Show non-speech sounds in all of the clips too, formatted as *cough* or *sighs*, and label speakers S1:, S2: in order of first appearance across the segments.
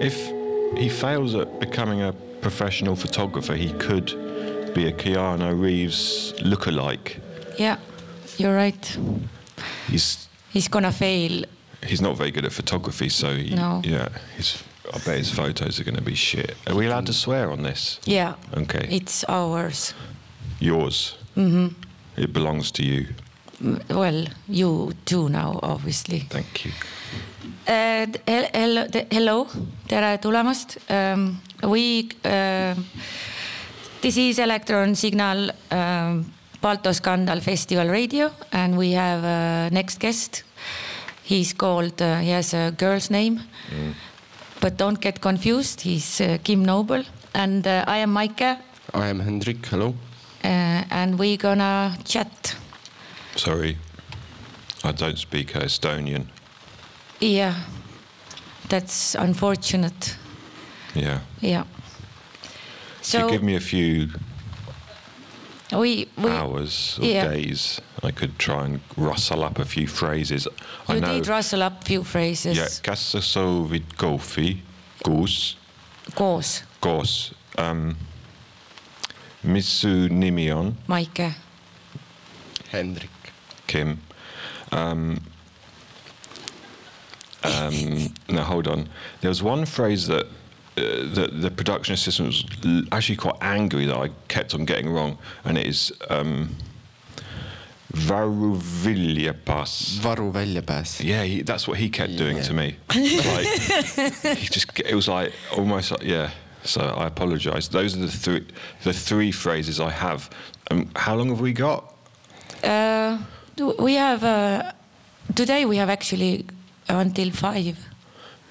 S1: If he fails at becoming a professional photographer, he could be a Keanu Reeves lookalike.
S2: Yeah, you're right.
S1: He's
S2: He's gonna fail.
S1: he's not very good at photography, so he,
S2: No.
S1: yeah, his I bet his photos are going to be shit. Are we allowed to swear on this?
S2: Yeah.
S1: Okay.
S2: It's ours.
S1: Yours. Mm-hmm. It belongs to you.
S2: M- Well, you too now, obviously.
S1: Thank you.
S2: Uh, th- hel- hello, th- hello, tere tulemast um, . We um, This is Electron Signal um, Balto Scandal Festival Radio and we have uh, next guest. He's called, uh, he has a girl's name mm. . But don't get confused, he's uh, Kim Noble and uh, I am Maike uh,
S3: I am Hendrik, hello.
S2: and we gonna chat .
S1: Sorry, I don't speak Estonian.
S2: Yeah, that's unfortunate ,
S1: Yeah.
S2: yeah .
S1: So, give me Ah, a few
S2: we, we
S1: hours or
S2: yeah.
S1: days, I could try and rustle up a few phrases. I
S2: You
S1: know.
S2: did rustle up few phrases
S1: yeah, kassa soovid kohvi, kuus,
S2: koos ,
S1: koos. Um, mis su nimi on,
S2: Maike .
S3: Hendrik.
S1: Kim? Um, um, now hold on. There was one phrase that. Uh, the, the production assistant was l- actually quite angry that I kept on getting wrong, and it is um, Varuviljapas.
S3: varu väljapääs .
S1: Yeah, he, that's what he kept doing
S3: Yeah.
S1: to me.
S2: *laughs*
S1: Like, he just it was like almost like, yeah. So I apologise. Those are the three the three phrases I have. Um, how long have we got?
S2: Uh, We have uh, , today we have actually until five ,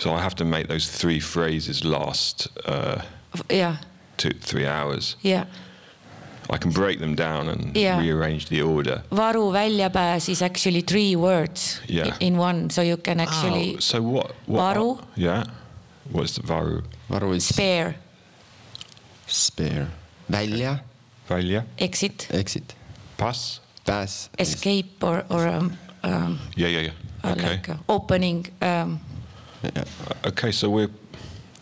S1: So I have to make those three phrases last uh,
S2: yeah ,
S1: two three hours.
S2: yeah .
S1: I can break them down and
S2: Yeah.
S1: rearrange the order.
S2: varu väljapääs is actually three words
S1: Yeah.
S2: in one , so you can actually
S1: Oh, so what? what
S2: Varu.
S1: yeah. What's the varu?
S3: varu is
S2: spare
S3: spare . välja ,
S1: Valja?
S2: exit ,
S3: exit ,
S1: Pass?
S3: pääs .
S2: escape or , or um, um,
S1: Yeah, yeah, yeah.
S2: okay.
S1: Okay. Uh,
S2: like uh, opening um, .
S1: Okay. So we're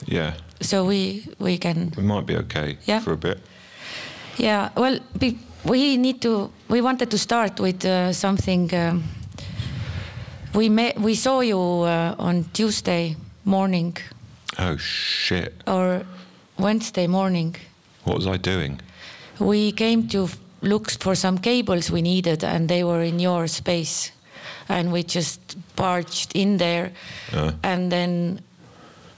S1: yeah.
S2: So we , we can
S1: We might be okay
S2: Yeah.
S1: for a bit.
S2: Yeah, well, be- we need to. We wanted to start with uh, something. Um, we met. We saw you uh, on Tuesday morning
S1: Oh shit.
S2: or Wednesday morning.
S1: What was I doing?
S2: We came to f- look for some cables we needed, and they were in your space, and we just barged in there,
S1: Uh.
S2: and then.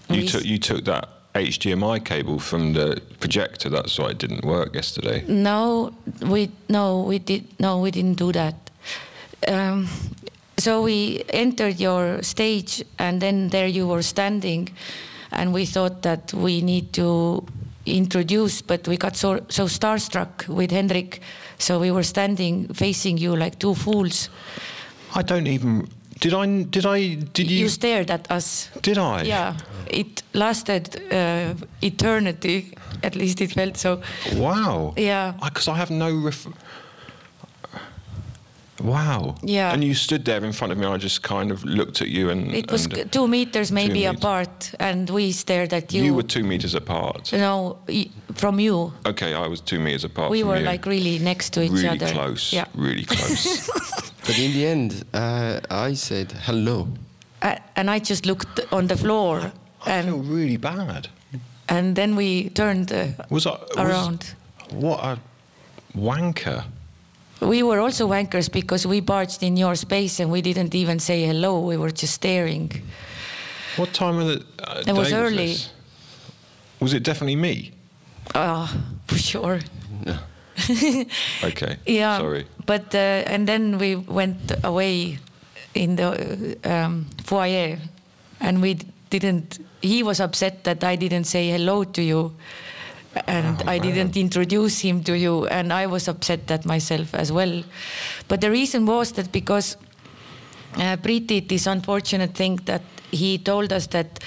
S1: You
S2: we
S1: took you took that HDMI cable from the projector. That's why it didn't work yesterday.
S2: No, we no, we did no, we didn't do that. Um, so we entered your stage, and then there you were standing, and we thought that we need to introduce, but we got so so starstruck with Hendrik, so we were standing facing you like two fools.
S1: I don't even. Did I? Did I? Did
S2: You,
S1: you?
S2: stared at us.
S1: did I?
S2: Yeah, it lasted uh, eternity. At least it felt so.
S1: Wow.
S2: Yeah.
S1: Because I, have no. Ref- wow.
S2: Yeah.
S1: And you stood there in front of me. and I just kind of looked at you and.
S2: It was
S1: and
S2: g- two meters maybe
S1: meters.
S2: apart, and we stared at you.
S1: You, were two meters apart.
S2: no, y- from you.
S1: Okay, I was two meters apart.
S2: We
S1: Oh, from
S2: were
S1: you.
S2: like really next to each
S1: really
S2: other.
S1: close.
S2: Yeah.
S1: Really *laughs* close.
S3: But in the end uh, I said hello .
S2: A- and I just looked on the floor,
S1: I feel
S2: and
S1: really bad.
S2: and then we turned uh,
S1: Was I was-
S2: around.
S1: what a wanker.
S2: We were also wankers because we barged in your space and we didn't even say hello. We were just staring.
S1: What time of the uh, day
S2: It was early.
S1: this? Was it definitely me?
S2: Ah, for sure.
S1: Okay.
S2: Yeah.
S1: Sorry.
S2: But uh, and then we went away in the uh, um, foyer, and we d- didn't. He was upset that I didn't say hello to you, and I didn't introduce him to you, and I was upset at myself as well. But the reason was that because uh, Brit did this unfortunate thing that he told us that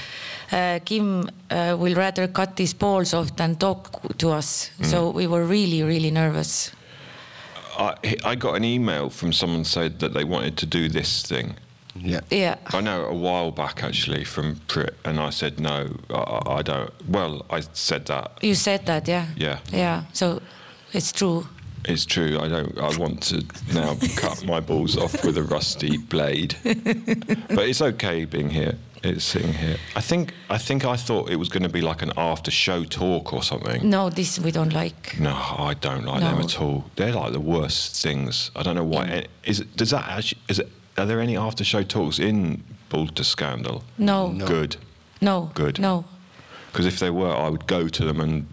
S2: uh, Kim uh, will rather cut his balls off than talk to us. So we were really, really nervous.
S1: I, he- I got an email from someone said that they wanted to do this thing.
S3: Yeah.
S2: Yeah.
S1: I know a while back actually from Prit, and I said no, I- I, I don't. Well, I said that.
S2: You said that, yeah?
S1: Yeah.
S2: Yeah. So it's true.
S1: It's true. I don't. I want to
S2: *laughs*
S1: now cut my balls off with a rusty blade. But it's okay being here. It's sitting here. I think. I think I thought it was going to be like an after-show talk or something.
S2: No, this we don't like.
S1: No, I don't like them
S2: No. Mm.
S1: at all. They're like the worst things. I don't know why. Eh, Is it, does that actually? Is it? Are there any after-show talks in Balder Scandal?
S2: No.
S3: No.
S1: Good.
S2: No.
S1: Good.
S2: No.
S1: Because if they were, I would go to them and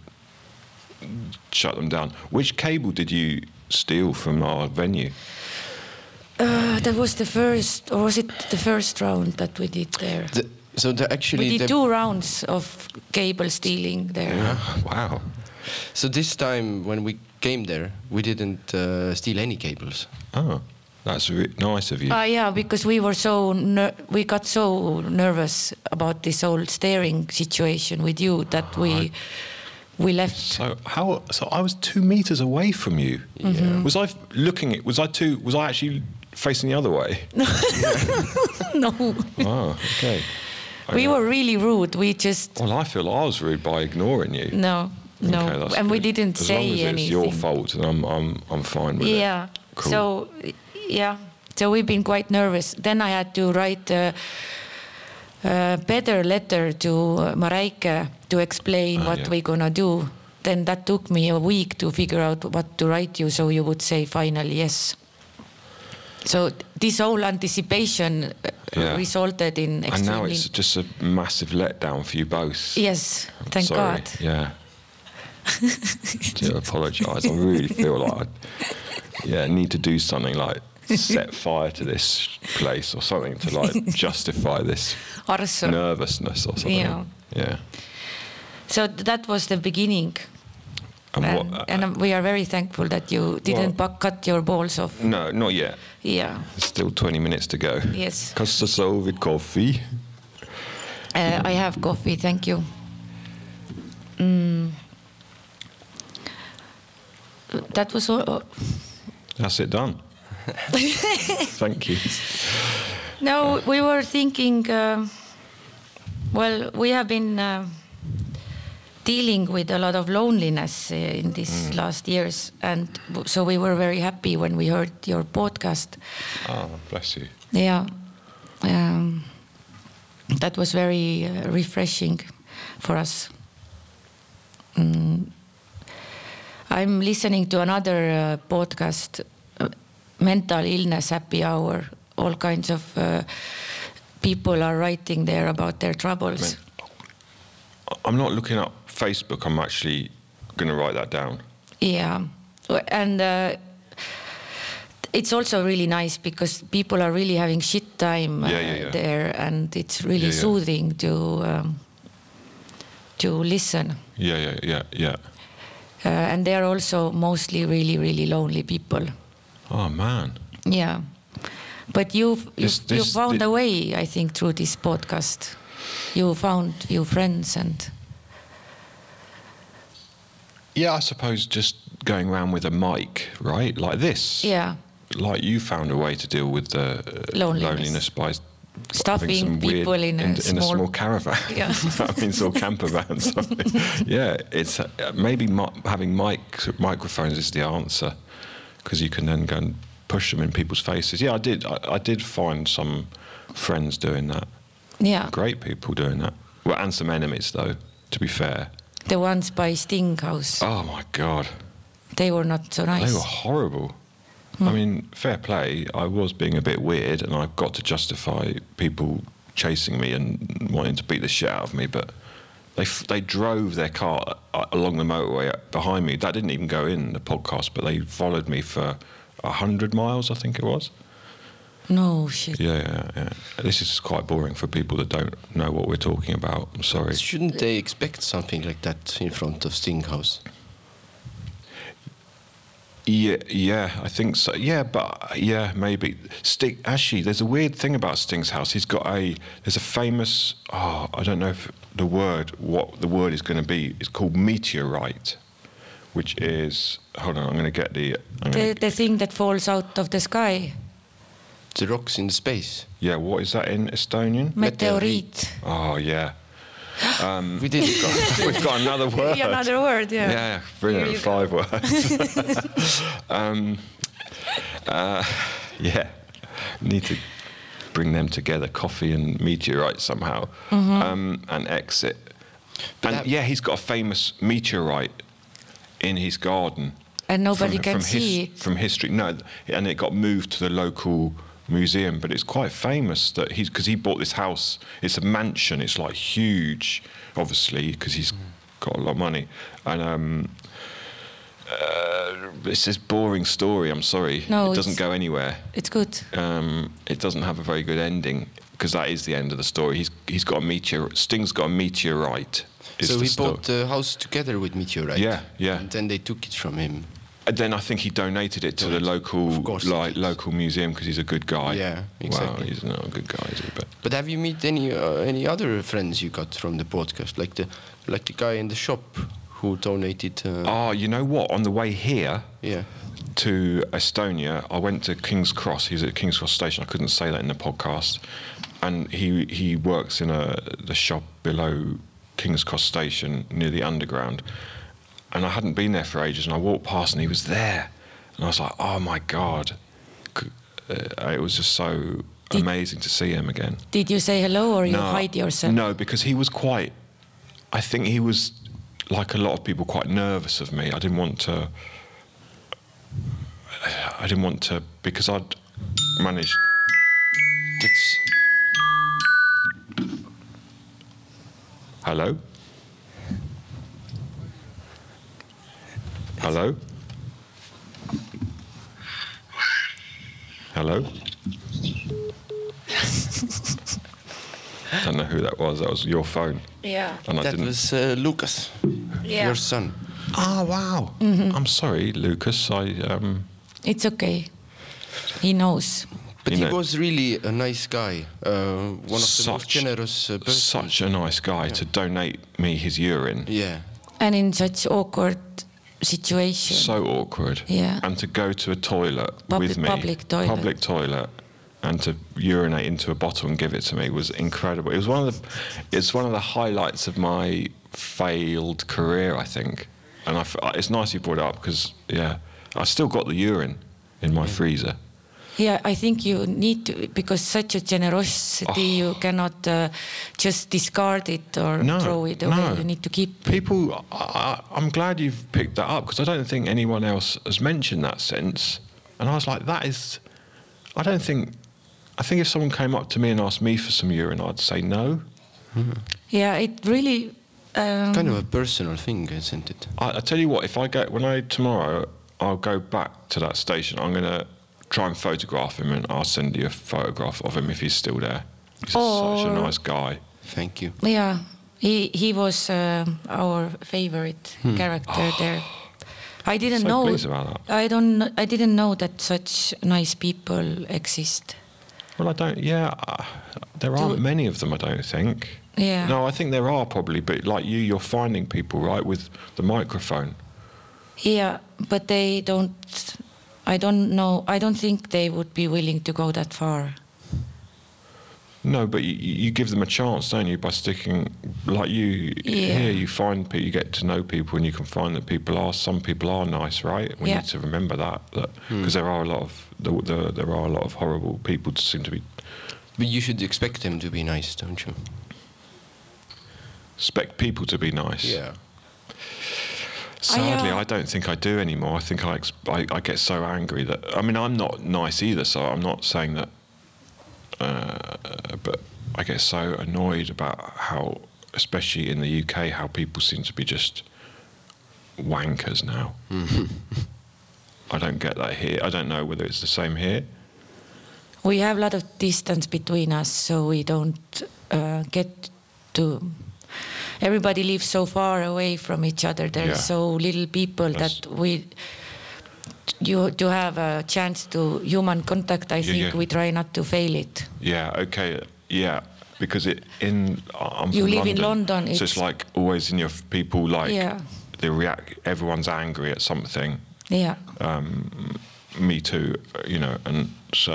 S1: shut them down. Which cable did you steal from our venue?
S2: Uh, that was the first, or was it the first round that we did there?
S3: The, so they actually
S2: we
S3: they-
S2: did two rounds of cable stealing there.
S1: Wow.
S3: So this time when we came there, we didn't uh, steal any cables.
S1: Oh, that's re- nice of you.
S2: Ah, yeah, because we were so ner- we got so nervous about this whole staring situation with you that we we left. *laughs*
S1: so how? So I was two meters away from you.
S2: Mm-hmm.
S1: Was I f- looking? At, was I two? Was I actually facing the other way? *laughs*
S2: no,
S1: oh, okay.
S2: we were really rude. We just
S1: Well, I feel I was rude by ignoring you.
S2: no, no,
S1: Okay, that's
S2: and we
S1: good.
S2: didn't
S1: as
S2: say
S1: long as
S2: anything.
S1: It's your fault, and I'm I'm I'm fine with it.
S2: yeah.
S1: Cool.
S2: So yeah, so we've been quite nervous. Then I had to write. A, a better letter to uh, Mareike to explain
S1: Ah,
S2: what
S1: yeah.
S2: we're gonna do. Then that took me a week to figure out what to write you, so you would say finally yes. So this whole anticipation uh,
S1: Yeah.
S2: resulted in
S1: and
S2: extremely.
S1: now it's just a massive letdown for you both.
S2: yes, thank
S1: Sorry.
S2: God. *laughs*
S1: Yeah. do apologise. I really feel like I yeah, need to do something like set fire to this place or something to
S2: *laughs*
S1: like justify this
S2: Arso.
S1: nervousness or something.
S2: Yeah.
S1: Yeah.
S2: So that was the beginning,
S1: And,
S2: and,
S1: what?
S2: Um,
S1: uh,
S2: and we are very thankful that you didn't bu- cut your balls off.
S1: no, not yet.
S2: Yeah.
S1: There's still 20 minutes to go.
S2: Yes.
S1: Costa soul with coffee.
S2: Uh, I have coffee, thank you. Mm. That was all. oh.
S1: That's it
S2: *laughs*
S1: done. Thank you.
S2: No, we were thinking. um well, we have been uh, dealing with a lot of loneliness uh, in these last years, and w- so we were very happy when we heard your podcast.
S1: Oh, bless you.
S2: Yeah, um, that was very uh, refreshing for us. Mm. I'm listening to another uh, podcast, uh, Mental Illness Happy Hour. All kinds of uh, people are writing there about their troubles.
S1: I'm not looking up Facebook. I'm actually going to write that down.
S2: Yeah, Well, and uh, it's also really nice because people are really having shit time uh,
S1: Yeah, yeah, yeah.
S2: there, and it's really
S1: Yeah, yeah.
S2: soothing to um, to listen.
S1: Yeah, yeah, yeah, yeah.
S2: Uh, and they are also mostly really, really lonely people.
S1: Oh, man.
S2: Yeah, but you've you
S1: This-
S2: you
S1: this-
S2: found
S1: thi-
S2: a way, I think, through this podcast. You found your friends and
S1: Yeah, I suppose just going around with a mic, right? Like this.
S2: yeah,
S1: Like you found a way to deal with the uh,
S2: Loneliness.
S1: loneliness by s-
S2: Stuffing
S1: having some weird-
S2: people in a small-
S1: caravan.
S2: *laughs* Yeah.
S1: *laughs* I mean, small camper van. *laughs* Something. yeah, it's uh, maybe mi- having mic microphones is the answer because you can then go and push them in people's faces. Yeah, I did. I, I did find some friends doing that.
S2: yeah.
S1: Great people doing that. Well, and some enemies though. To be fair.
S2: The ones by Stinghouse,
S1: Oh my god.
S2: they were not so nice.
S1: They were horrible. I mean, fair play. I was being a bit weird, and I've got to justify people chasing me and wanting to beat the shit out of me. But they f- they drove their car a- along the motorway behind me. That didn't even go in the podcast, but they followed me for hundred miles, I think it was.
S2: No shit.
S1: Yeah, yeah, yeah. This is quite boring for people that don't know what we're talking about. I'm sorry.
S3: Shouldn't they expect something like that in front of Stinghouse?
S1: Yeah, yeah, I think so. Yeah, but yeah, maybe Sting. Actually, there's a weird thing about Sting's house. He's got a there's a famous. Oh, I don't know if the word what the word is going to be. It's called meteorite, which is hold on. I'm going to get the. I'm gonna,
S2: The, the thing that falls out of the sky.
S3: The rocks in space.
S1: yeah, what is that in Estonian?
S2: Meteorite.
S1: Oh yeah,
S3: we did it. guys.
S1: we've got another word.
S2: Another word, *laughs* yeah.
S1: Yeah, brilliant.
S2: you
S1: Five words.
S2: *laughs*
S1: um, uh, yeah, need to bring them together. Coffee and meteorite somehow,
S2: Mm-hmm.
S1: um, and exit. and
S3: that-
S1: yeah, he's got a famous meteorite in his garden.
S2: And nobody can
S1: from his-
S2: see it.
S1: from history. No, and it got moved to the local museum. But it's quite famous that he's because he bought this house. It's a mansion. It's like huge, obviously, because he's got a lot of money. And um, uh, it's this boring story. I'm sorry,
S2: No,
S1: it doesn't
S2: it's-
S1: go anywhere.
S2: It's good.
S1: Um, it doesn't have a very good ending because that is the end of the story. He's he's got a meteor. Sting's got a meteorite. is
S3: so
S1: the
S3: we
S1: story.
S3: bought the house together with Meteorite.
S1: Yeah, yeah.
S3: And then they took it from him.
S1: And then I think he donated it to the
S3: Of
S1: local
S3: course he
S1: like
S3: did.
S1: local museum because he's a good guy.
S3: Yeah, exactly.
S1: Well, he's not a good guy, is he? But
S3: But have you met any uh, any other friends you got from the podcast, like the like the guy in the shop who donated? Uh,
S1: oh, you know what? On the way here
S3: Yeah.
S1: to Estonia, I went to King's Cross. He's at King's Cross station. I couldn't say that in the podcast. And he he works in a the shop below King's Cross station near the underground. And I hadn't been there for ages. And I walked past, and he was there. And I was like, oh my god, C- uh, it was just so
S2: Did-
S1: amazing to see him again.
S2: Did you say hello or you hide yourself?
S1: No, because he was quite. I think he was like a lot of people, quite nervous of me. I didn't want to. I didn't want to because I'd managed.
S3: That's
S1: Hello. Hello. Hello. Don't know who that was. That was your phone,
S2: Yeah.
S1: and I
S3: that
S1: didn't.
S3: was uh, Lucas, your son.
S1: Ah, wow.
S2: Mm-hmm.
S1: I'm sorry, Lucas. I um,
S2: It's okay. He knows.
S3: But
S1: You
S3: he
S1: know-
S3: was really a nice guy, uh, one of the most
S1: Such-
S3: generous uh, persons.
S1: such a nice guy to donate me his urine.
S3: Yeah.
S2: And in such awkward situation.
S1: So awkward.
S2: Yeah.
S1: And to go to a toilet
S2: Public-
S1: with me.
S2: public toilet.
S1: Public toilet. And to urinate into a bottle and give it to me was incredible. It was one of the, it's one of the highlights of my failed career, I think. And I f it's nice you brought it up because yeah, I still got the urine in my freezer.
S2: yeah, I think you need to because such a generosity you cannot uh, just discard it or
S1: Oh. No,
S2: throw it away.
S1: no.
S2: You need to keep.
S1: people I, I, i'm glad you've picked that up because i don't think anyone else has mentioned that since and i was like that is i don't think i think if someone came up to me and asked me for some urine i'd say no
S2: Yeah, it really. Um,
S3: Kind of a personal thing, isn't it?
S1: i, I tell you what if i go when i tomorrow i'll go back to that station i'm going to try and photograph him and i'll send you a photograph of him if he's still there he's such a
S2: Or-
S1: nice guy
S3: Thank you.
S2: yeah, he he was um our favorite character there. I didn't
S1: Hmm. Oh. So
S2: know.
S1: pleased about
S2: I don't. kn- I didn't know that such nice people exist.
S1: Well, I don't. Yeah, uh, there aren't many of them. I don't think.
S2: Yeah.
S1: No, I think there are probably, but like you, you're finding people right with the microphone.
S2: Yeah, but they don't. I don't know. I don't think they would be willing to go that far.
S1: No, but you, you give them a chance, don't you? By sticking like you
S2: Yeah.
S1: here, you find people, you get to know people, and you can find that people are some people are nice, right? We
S2: Yeah.
S1: need to remember that because there are a lot of the, the, there are a lot of horrible people. Just seem to be
S3: But you should expect them to be nice, don't you?
S1: expect people to be nice. Sadly,
S2: uh,
S1: I, don't think I do anymore. I think I, ex- I I get so angry that I mean I'm not nice either, so I'm not saying that. Uh, but I get so annoyed about how, especially in the UK, how people seem to be just wankers now. *laughs* I don't get that here. I don't know whether it's the same here.
S2: we have a lot of distance between us, so we don't uh, get to. Everybody lives so far away from each other. There's
S1: Yeah.
S2: so little people
S1: That's-
S2: that we. You to have a chance to human contact. I
S1: Yeah,
S2: think
S1: yeah.
S2: we try not to fail it.
S1: Yeah. Okay. Yeah. Because it in I'm
S2: You
S1: from
S2: live in London,
S1: so it's
S2: it's-
S1: like always in your f- people like
S2: Yeah.
S1: they react. Everyone's angry at something.
S2: Yeah,
S1: Uh. Me too. uh, You know, and so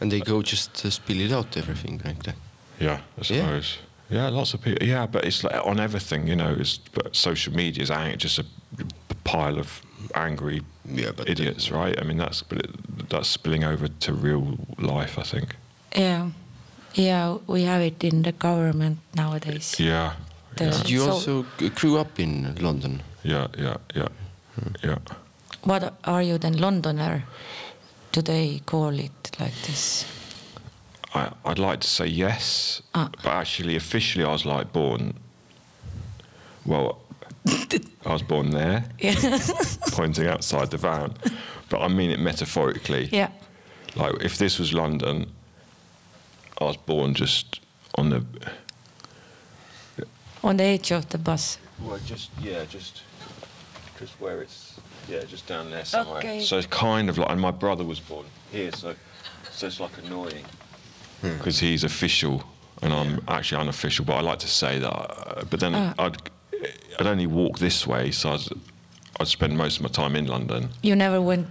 S3: And they go just to spill it out, everything like that.
S1: yeah, I suppose. Yeah. lots of people. Yeah, but it's like on everything. You know, it's but social media is ang- just a pile of angry
S3: Yeah, but the-
S1: idiots, right? I mean, that's but it, that's spilling over to real life. I think.
S2: yeah, yeah. We have it in the government nowadays.
S1: Yeah.
S2: There's-
S1: Yeah.
S3: Did you
S2: So-
S3: also g- grew up in London?
S1: Yeah. Yeah. Yeah. Yeah.
S2: What are you then, Londoner? Do they call it like this? *laughs*
S1: I, I'd like to say yes,
S2: Ah.
S1: but actually, officially, I was like born. Well, I was born there,
S2: Yeah,
S1: pointing outside the van, but I mean it metaphorically.
S2: yeah,
S1: Like, if this was London, I was born just on the.
S2: on the edge of the bus.
S1: Well, just yeah, just just where it's yeah, just down there
S2: somewhere. Okay.
S1: So it's kind of like, and my brother was born here, so so it's like annoying because he's official and I'm actually unofficial. But I like to say that. uh, But then
S2: Ah.
S1: I'd I'd only walk this way, so I'd, I'd spend most of my time in London.
S2: You never went.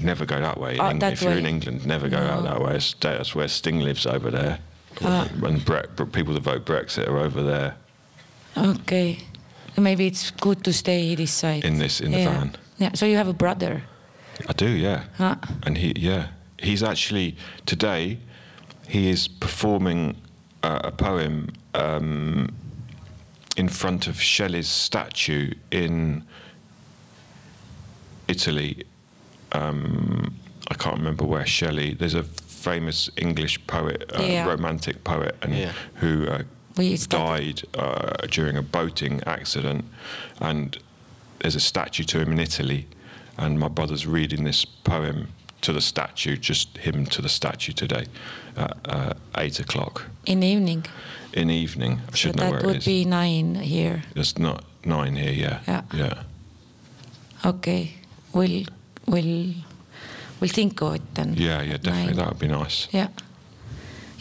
S1: Never go that way. in
S2: Oh,
S1: England.
S2: that
S1: if you're in
S2: way.
S1: England, never go out that way. It's- That's where Sting lives over there.
S2: Ah.
S1: And Bre- people that vote Brexit are over there.
S2: Okay, maybe it's good to stay this side.
S1: In this- in the
S2: yeah.
S1: van.
S2: Yeah. So you have a brother.
S1: I do, yeah.
S2: Huh?
S1: And he, yeah, he's actually today he is performing uh, a poem um, in front of Shelley's statue in Italy. Um, I can't remember where Shelley. There's a famous English poet, uh,
S2: Yeah.
S1: romantic poet, and
S3: Yeah.
S1: who uh,
S2: We used to-
S1: died uh, during a boating accident, and there's a statue to him in Italy, and my brother's reading this poem to the statue, just him to the statue today, at uh, eight o'clock
S2: In the evening.
S1: in the evening. I
S2: So
S1: should know
S2: that
S1: where
S2: would
S1: it is.
S2: be nine here.
S1: it's not nine here, yeah.
S2: Yeah.
S1: yeah.
S2: Okay. We'll we'll we'll think of it then.
S1: Yeah, yeah, definitely.
S2: Nine.
S1: That would be nice.
S2: Yeah.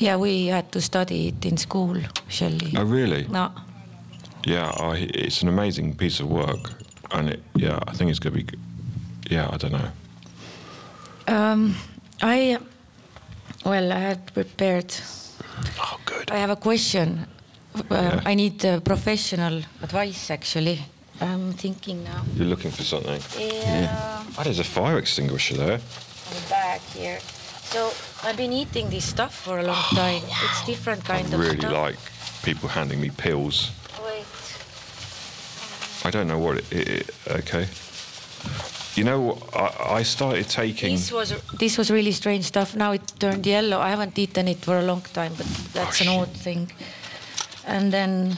S2: Yeah, we had to study it in school, Shelley.
S1: Oh, really?
S2: No.
S1: Yeah, I, it's an amazing piece of work, and it, yeah, I think it's gonna be. g- Yeah, I don't know.
S2: I well, I had prepared.
S1: Oh, good.
S2: I have a question. Um,
S1: Yeah.
S2: I need uh, professional advice. Actually, I'm thinking now.
S1: You're looking for something.
S2: Yeah,
S1: Oh, there's a fire extinguisher there.
S2: uh, I'm back here. So I've been eating this stuff for a long time. It's different
S1: Oh, I
S2: kind of
S1: really
S2: stuff.
S1: like people handing me pills.
S2: Wait.
S1: I don't know what it. it, it okay. You know, I, I started taking.
S2: This was this was really strange stuff. Now it turned yellow. I haven't eaten it for a long time, but that's
S1: Oh,
S2: an
S1: shit.
S2: odd thing. And then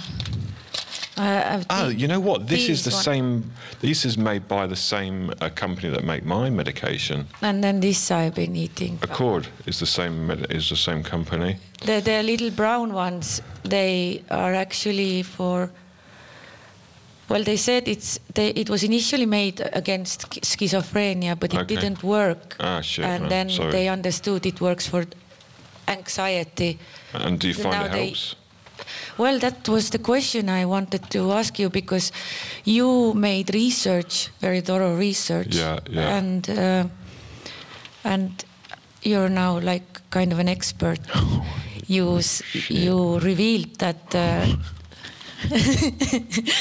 S2: I I've
S1: Oh,
S2: eat-
S1: you know what? This is
S2: these
S1: the
S2: one.
S1: same. This is made by the same uh, company that make my medication.
S2: And then this I've been eating.
S1: Accord is the same. Med- is the same company.
S2: The, the little brown ones, they are actually for. Well, they said it's they, it was initially made against sch- schizophrenia, but it
S1: Okay.
S2: didn't work.
S1: Ah, shit,
S2: and
S1: man,
S2: then
S1: sorry.
S2: they understood it works for anxiety.
S1: And do you
S2: So
S1: find
S2: now
S1: it
S2: they-
S1: helps?
S2: Well, that was the question I wanted to ask you because you made research, very thorough research.
S1: Yeah, yeah.
S2: And uh, and you're now like kind of an
S1: *laughs*
S2: expert.
S1: Oh
S2: You s- you revealed that. Uh, *laughs*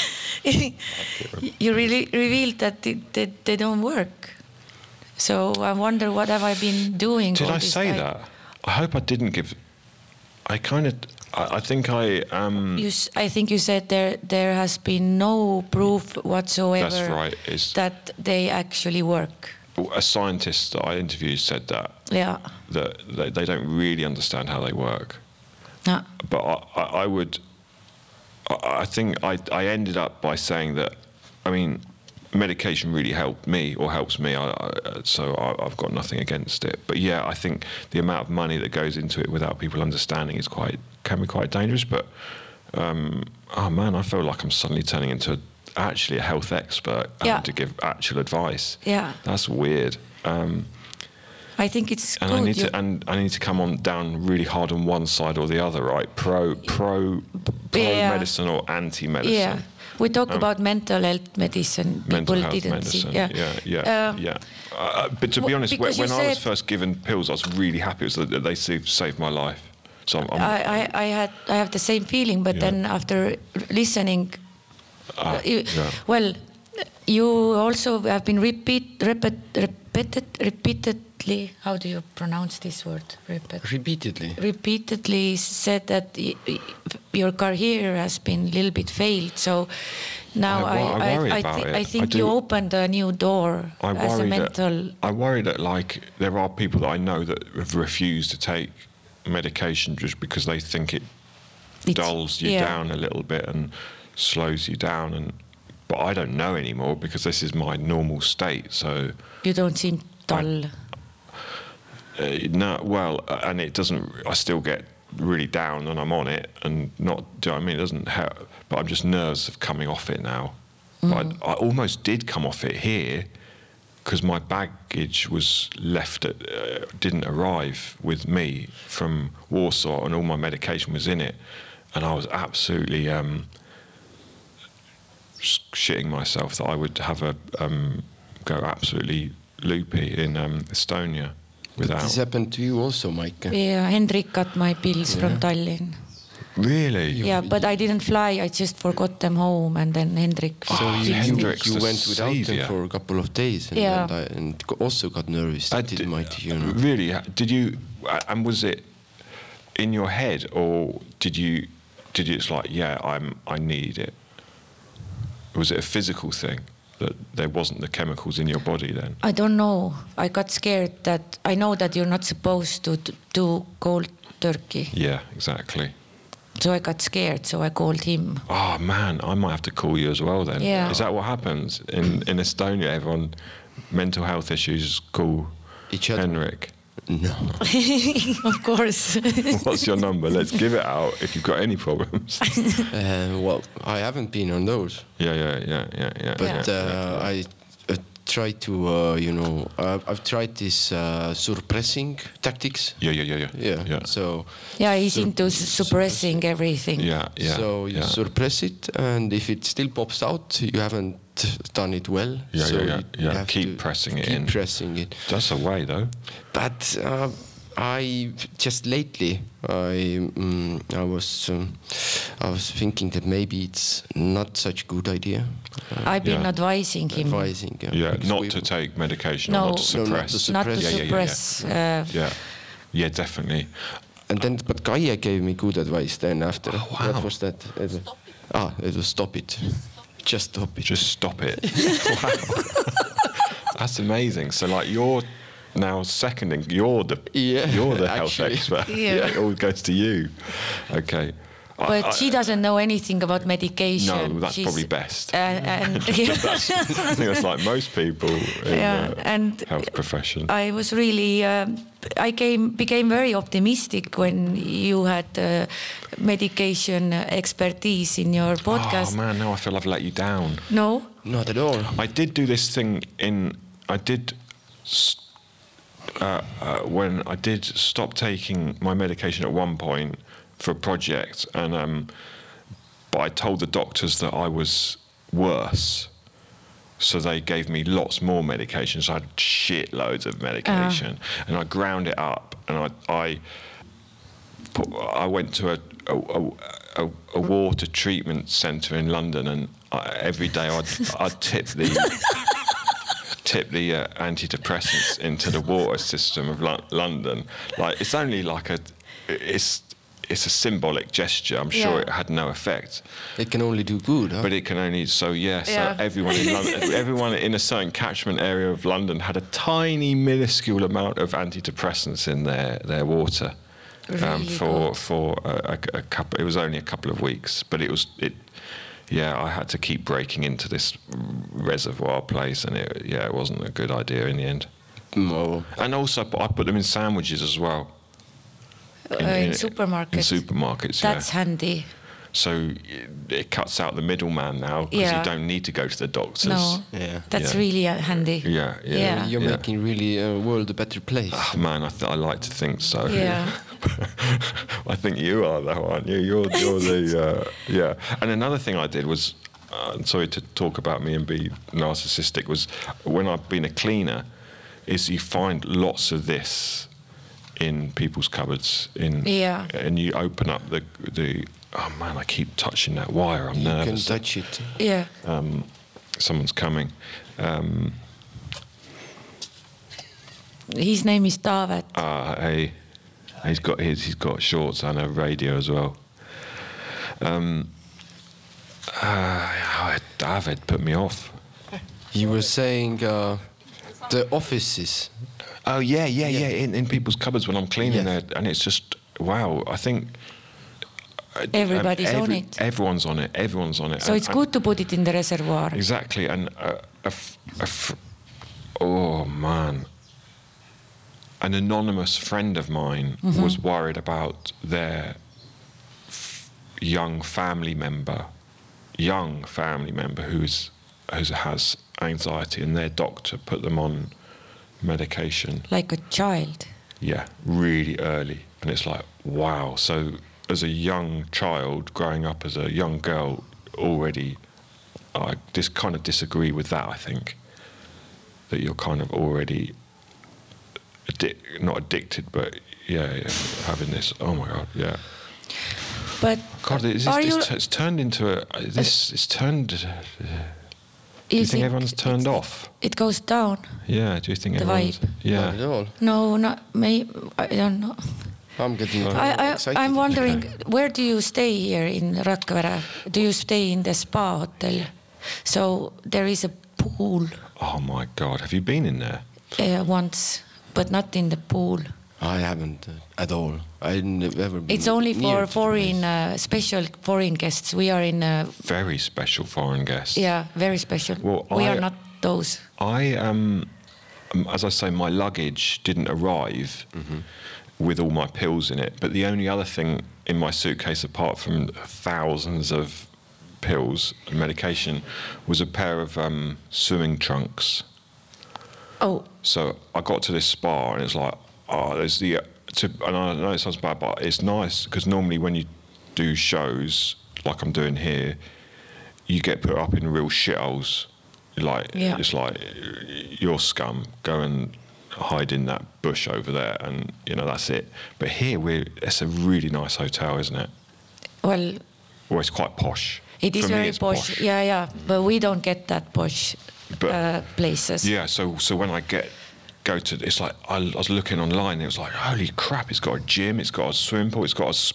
S2: you really revealed that it, they, they don't work. So I wonder what have I been doing?
S1: Did
S2: all
S1: I
S2: this
S1: say
S2: time?
S1: that? I hope I didn't give. I kind of. I, I think I um.
S2: You, s- I think you said there there has been no proof whatsoever
S1: That's right. It's
S2: that they actually work.
S1: a scientist that I interviewed said that
S2: Yeah.
S1: that they, they don't really understand how they work.
S2: No.
S1: But I, I, I would, I, I think I, I ended up by saying that, I mean, medication really helped me or helps me. I, I, so I, I've got nothing against it. But yeah, I think the amount of money that goes into it without people understanding is quite can be quite dangerous. But um, oh man, I feel like I'm suddenly turning into a, actually a health expert
S2: Yeah.
S1: and to give actual advice.
S2: Yeah.
S1: that's weird. Um,
S2: I think it's
S1: and
S2: good.
S1: I need
S2: you-
S1: to and I need to come on down really hard on one side or the other, right? Pro pro pro
S2: Yeah.
S1: medicine or anti medicine.
S2: yeah, we talk about mental health medicine.
S1: Um, mental
S2: People
S1: health
S2: didn't
S1: medicine.
S2: see. Yeah,
S1: yeah, yeah.
S2: Um,
S1: yeah. Uh, Uh, but to be
S2: wh-
S1: honest, when,
S2: because you
S1: when I was
S2: said-
S1: first given pills, I was really happy. It was that they saved, saved my life. So I'm, I'm,
S2: I, I, I had I have the same feeling, but
S1: Yeah.
S2: then after listening,
S1: Ah,
S2: uh, you,
S1: yeah.
S2: well, you also have been repeat, repeat, repeated, repeatedly. How do you pronounce this word? Repeat.
S3: Repeatedly.
S2: repeatedly said that y- y- your career has been a little bit failed. So now
S1: I
S2: I,
S1: wo- I
S2: I,
S1: worry
S2: I,
S1: about
S2: thi-
S1: it.
S2: I
S1: I
S2: think
S1: do-
S2: you opened a new door
S1: I
S2: as a
S1: worry
S2: mental.
S1: that I worry that like there are people that I know that have refused to take medication just because they think it
S2: It's-
S1: dulls you
S2: yeah.
S1: down a little bit and slows you down and but I don't know anymore because this is my normal state so
S2: You don't seem dull.
S1: uh, no well uh, and it doesn't I still get really down and I'm on it and not do you know what I mean it doesn't help but I'm just nervous of coming off it now
S2: Mm.
S1: But I, I almost did come off it here because my baggage was left at, uh, didn't arrive with me from Warsaw and all my medication was in it and I was absolutely um, s- shitting myself that I would have a um, go absolutely loopy in um, Estonia without
S3: This happened to you also, Mike.
S2: Yeah, Hendrik got my pills from Tallinn.
S1: really
S2: Yeah, but I didn't fly. I just forgot them home, and then Hendrik.
S3: So
S1: Ah,
S3: you, you,
S1: Hendrix,
S3: you
S1: the
S3: went without
S1: savior.
S3: them for a couple of days and,
S2: Yeah.
S3: and, I, and go- also got nervous. I did
S1: d-
S3: Mike, you know.
S1: Really? Did you? And was it in your head, or did you? Did you? It's like, yeah, I'm. I need it. Was it a physical thing that there wasn't the chemicals in your body then?
S2: I don't know. I got scared that I know that you're not supposed to d- do cold turkey.
S1: Yeah, exactly.
S2: So I got scared. So I called him.
S1: Oh man, I might have to call you as well then.
S2: Yeah.
S1: Is that what happens in in Estonia? Everyone, mental health issues call
S3: Each other. *laughs*
S1: Henrik. *laughs*
S3: No.
S2: *laughs* of course.
S1: What's your number? Let's give it out if you've got any problems. *laughs*
S3: Uh, well, I haven't been on those,
S1: yeah, yeah, yeah, yeah, yeah.
S3: but
S1: yeah.
S3: uh, I uh, try to, uh, you know, I've, I've tried this uh, suppressing tactics.
S1: yeah, yeah, yeah, yeah,
S3: Yeah.
S1: yeah.
S3: So.
S2: yeah, he's
S3: Sup-
S2: into s- suppressing everything.
S1: Yeah, Uh, yeah.
S3: so you
S1: yeah.
S3: suppress it, and if it still pops out, you haven't done it well.
S1: Yeah,
S3: so
S1: yeah, yeah,
S3: you
S1: yeah.
S3: have
S1: Keep
S3: to
S1: pressing it
S3: keep
S1: in.
S3: pressing it.
S1: That's a way, though.
S3: But uh, I just lately I mm, I was um, I was thinking that maybe it's not such good idea
S2: I've been
S1: Yeah.
S2: advising him
S3: advising. uh,
S1: Yeah,
S3: because
S1: not
S3: we-
S1: to take medication, or
S2: No.
S1: not to
S3: No, not to
S1: suppress.
S2: not to
S3: Yeah, yeah, yeah, yeah.
S2: suppress. Uh,
S1: yeah, yeah, definitely.
S3: And then, but Gaia gave me good advice then after.
S1: wow.
S3: What was that? It- Ah, it was stop it. Just stop it.
S1: Just stop
S2: *laughs*
S1: it. wow, that's amazing. So, like, you're now seconding. You're the
S3: Yeah,
S1: you're the health
S3: actually.
S1: expert.
S2: Yeah.
S1: it all goes to you. Okay. I-
S2: But
S1: I-
S2: she doesn't know anything about medication.
S1: No, that's
S2: She's-
S1: probably best. *laughs*
S2: Uh, *laughs* and
S1: *laughs* I think that's like most people in
S2: Yeah, Uh,
S1: the
S2: and-
S1: health profession.
S2: I was really, um, I came became very optimistic when you had uh, medication expertise in your podcast.
S1: Oh man, now I feel I've let you down.
S2: no,
S3: Not at all.
S1: I did do this thing in. I did. s- Uh, uh, when I did stop taking my medication at one point for a project, and um, but I told the doctors that I was worse, so they gave me lots more medication. So I had shit loads of medication, and I ground it up, and I I, put, I went to a a, a, a a water treatment centre in London, and I, every day I'd I'd tip the tip the uh, antidepressants into the water system of Lo- London. Like it's only like a it's it's a symbolic gesture. I'm sure
S2: Yeah.
S1: it had no effect,
S3: It can only do good. Huh?
S1: but it can only so yeah. So
S2: Oh. Yeah.
S1: everyone in
S2: *laughs*
S1: London, everyone in a certain catchment area of London had a tiny, minuscule amount of antidepressants in their their water. um,
S2: Really
S1: for
S2: good.
S1: for a, a- a couple, it was only a couple of weeks, but it was it yeah, I had to keep breaking into this reservoir place, and it yeah, it wasn't a good idea in the end.
S3: No.
S1: And also, I put them in sandwiches as well.
S2: Uh, in, in supermarkets.
S1: In supermarkets,
S2: That's
S1: yeah.
S2: handy.
S1: So it, it cuts out the middleman now because
S2: Yeah.
S1: you don't need to go to the doctors.
S2: No,
S3: Yeah.
S2: that's
S1: Yeah.
S2: really uh, handy.
S1: Yeah, yeah.
S2: Yeah.
S3: You're
S1: yeah.
S3: making really a world a better place.
S1: Oh, man, I, th- I like to think so.
S2: Yeah.
S1: *laughs* I think you are though, aren't you? You're, you're
S2: *laughs*
S1: the uh, yeah. And another thing I did was, uh, sorry to talk about me and be narcissistic, was when I've been a cleaner, is you find lots of this in people's cupboards in
S2: Yeah.
S1: and you open up the the oh man I keep touching that wire I'm
S3: you can
S1: nervous
S3: touch it.
S2: Yeah.
S1: um, someone's coming um,
S2: His name is Taavet.
S1: Ah, hey, he's got his. He's got shorts and a radio as well. Um, uh, David put me off.
S3: You were saying uh, the offices.
S1: Oh yeah, yeah, yeah. In, in people's cupboards when I'm cleaning
S3: Yes.
S1: there, and it's just wow. I think uh,
S2: Everybody's on it.
S1: Everyone's on it. Everyone's on it.
S2: So
S1: And-
S2: it's
S1: and-
S2: good to put it in the reservoir.
S1: Exactly, and a, a f- a f- oh man, an anonymous friend of mine was worried about their f- young family member, young family member who's who has anxiety, and their doctor put them on medication.
S2: Like a child.
S1: Yeah, really early, and it's like wow. So as a young child growing up as a young girl, already I just kind of disagree with that. I think that you're kind of already addic- not addicted, but yeah, yeah, having this. Oh my god, yeah.
S2: But
S1: God, this,
S2: are you,
S1: this, it's turned into a this. It's turned. Do you
S2: is
S1: think
S2: it-
S1: everyone's turned
S2: it's-
S1: off?
S2: It goes down.
S1: Yeah. Do you think
S2: The
S1: everyone's?
S2: vibe.
S3: Not at
S1: Yeah.
S3: all.
S2: No, not me. I don't know.
S3: I'm getting
S2: I,
S3: excited.
S2: I, I'm wondering, where do you stay here in Rakvere? Do you stay in the spa hotel? So there is a pool
S1: Oh my god, have you been in there?
S2: uh, once, but not in the pool.
S3: I haven't uh, at all. I've never been.
S2: It's only
S3: near
S2: for
S3: to the
S2: foreign,
S3: place.
S2: uh, special foreign guests. We are in, uh,
S1: Very special foreign guest.
S2: yeah, very special.
S1: Well,
S2: we
S1: I-
S2: are not those.
S1: I um, um, as I say, my luggage didn't arrive with all my pills in it. But the only other thing in my suitcase, apart from thousands of pills and medication, was a pair of um, swimming trunks.
S2: Oh,
S1: So I got to this spa and it's like, oh, there's the. To, and I know it sounds bad, but it's nice because normally when you do shows like I'm doing here, you get put up in real shitholes. Like
S2: Yeah.
S1: it's like you're scum. Go and hide in that bush over there, and you know that's it. But here we, are it's a really nice hotel, isn't it?
S2: well,
S1: Well, it's quite posh.
S2: it is
S1: For me,
S2: very
S1: it's
S2: posh. Yeah, yeah, but we don't get that posh
S1: But-
S2: uh, places.
S1: Yeah, so so when I get go to it's like I, I was looking online and it was like holy crap, it's got a gym, it's got a swimming pool, it's got a, s-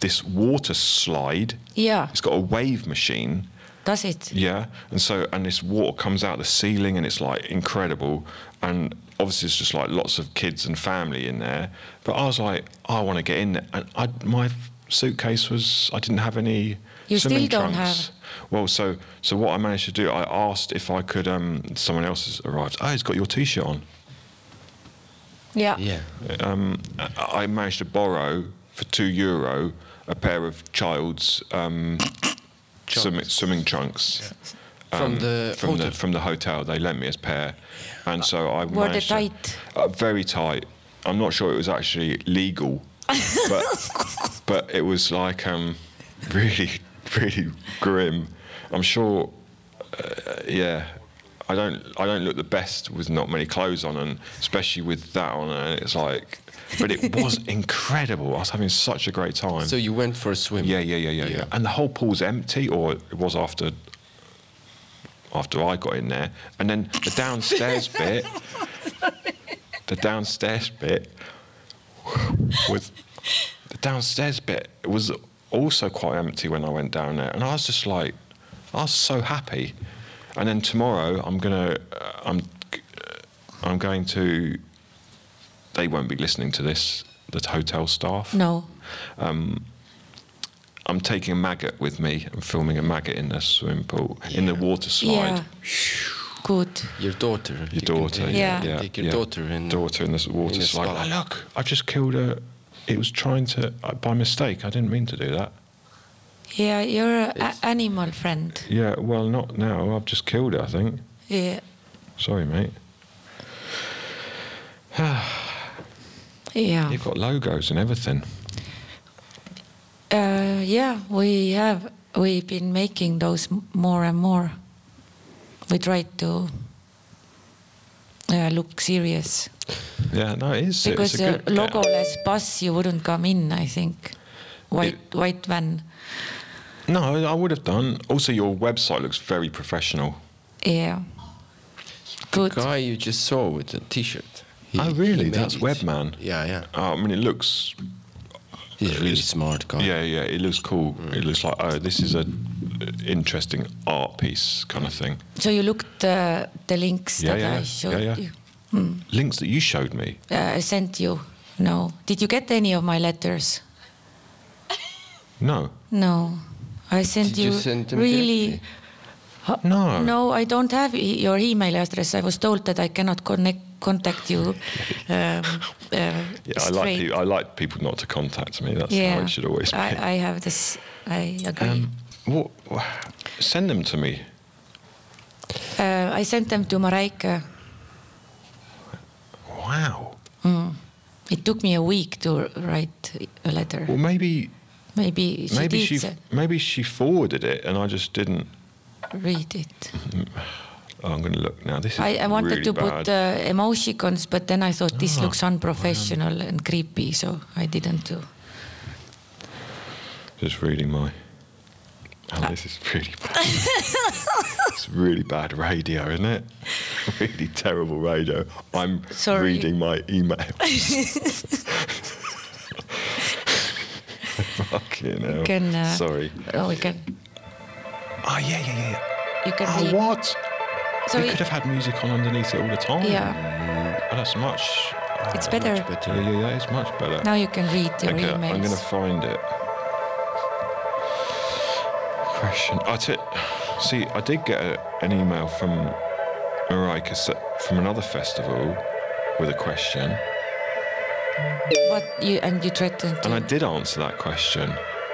S1: this water slide,
S2: Yeah,
S1: it's got a wave machine,
S2: does it?
S1: yeah, and so and this water comes out the ceiling and it's like incredible, and obviously it's just like lots of kids and family in there, but I was like I want to get in there, and I my suitcase was I didn't have any
S2: You still
S1: swimming
S2: don't
S1: trunks.
S2: have-
S1: Well, so so what I managed to do, I asked if I could. Um, someone else has arrived. Oh, he's got your t-shirt on.
S2: Yeah.
S3: Yeah.
S1: Um, I I managed to borrow for two euro a pair of child's um, swimming, swimming trunks
S3: From the
S1: Um, from
S3: hotel.
S1: the from the hotel. They lent me a pair, and so I
S2: Were they
S1: managed to-
S2: tight?
S1: uh, very tight. I'm not sure it was actually
S2: *laughs*
S1: legal, but but it was like um, really really grim. I'm sure, uh, yeah. I don't I don't look the best with not many clothes on, and especially with that on. And it's like, but it
S2: *laughs*
S1: was incredible. I was having such a great time.
S3: So you went for a swim.
S1: Yeah, yeah, yeah, yeah, yeah.
S3: Yeah.
S1: And the whole pool's empty, or it was after after I got in there. And then the downstairs bit, the downstairs bit was the downstairs bit was also quite empty when I went down there, and I was just like, I was so happy. And then tomorrow I'm gonna, uh, I'm, I'm going to. They won't be listening to this. The hotel staff.
S2: No.
S1: I'm taking a maggot with me. I'm filming a maggot in a swimming pool in the water slide.
S2: yeah. Good.
S3: Your daughter.
S1: Your
S3: you can
S1: daughter,
S3: take-
S1: yeah,
S2: Yeah.
S1: yeah,
S3: Take your
S1: yeah.
S3: daughter and
S1: daughter in this water
S3: in the
S1: slide.
S3: slide.
S1: Oh, look, I just killed her. It was trying to uh, by mistake. I didn't mean to do that.
S2: Yeah, you're an
S3: It's-
S2: animal friend.
S1: Yeah, well, not now. I've just killed her. I think.
S2: Yeah.
S1: Sorry, mate.
S3: Oh.
S2: Yeah.
S1: You've got logos and everything.
S2: Uh, yeah, we have. We've been making those m- more and more. We try to uh, look serious
S1: Yeah, no, it is.
S2: because
S1: it's
S2: uh,
S1: a
S2: a
S1: good get.
S2: logoless bus you wouldn't come in. I think white white van.
S1: No, I would have done. Also, your website looks very professional.
S2: Yeah.
S3: the
S2: Good.
S3: guy you just saw with the T-shirt. He-
S1: Oh,
S3: he
S1: really?
S3: made
S1: That's
S3: it.
S1: Webman?
S3: Yeah, yeah.
S1: Uh, I mean, it looks.
S3: He's a really
S1: It's-
S3: smart guy.
S1: Yeah, yeah, it looks cool. It looks like oh, this is a interesting art piece kind of thing.
S2: So you looked uh, the links
S1: Yeah,
S2: that
S1: yeah,
S2: I showed
S1: yeah, yeah.
S2: you.
S1: Links that you showed me.
S2: Uh, I sent you. No. Did you get any of my letters?
S1: No,
S2: No. I sent
S3: Did you send them
S2: really.
S3: directly?
S1: no,
S2: No, I don't have e- your email address. I was told that I cannot connect contact you. Um, uh,
S1: *laughs* Yeah, I like
S2: straight.
S1: pe- I like people not to contact me. That's how it should always be.
S2: I, I have this. I agree.
S1: um, what, wha- send them to me.
S2: uh, I sent them to Mareike.
S1: Wow.
S2: It took me a week to write a letter.
S1: Well, maybe
S2: Maybe she
S1: maybe
S2: did
S1: she
S2: se-
S1: maybe she forwarded it and I just didn't.
S2: read it.
S1: Oh, I'm going to look now. This is
S2: I, I wanted
S1: really
S2: to
S1: bad.
S2: put uh, emoticons, but then I thought this
S1: Ah,
S2: looks unprofessional and creepy, so I didn't do.
S1: Just reading my. Oh, this is really bad.
S2: *laughs*
S1: it's really bad radio, isn't it? *laughs* Really terrible radio. I'm
S2: Sorry.
S1: reading my
S2: *laughs*
S1: email. Fucking hell.
S2: can, uh,
S1: Sorry.
S2: Oh, we can.
S1: Oh, yeah, yeah, yeah, yeah.
S2: You can.
S1: Oh,
S2: read.
S1: what?
S2: So
S1: we
S2: it-
S1: could have had music on underneath it all the time.
S2: Yeah,
S1: Oh, that's much.
S2: it's better.
S1: Yeah, yeah, yeah, it's much better.
S2: Now you can read your
S1: Okay,
S2: emails.
S1: uh, I'm going to find it. Question. I t- see, I did get a, an email from Marika from another festival with a question,
S2: What you and you threatened to?
S1: and I did answer that question.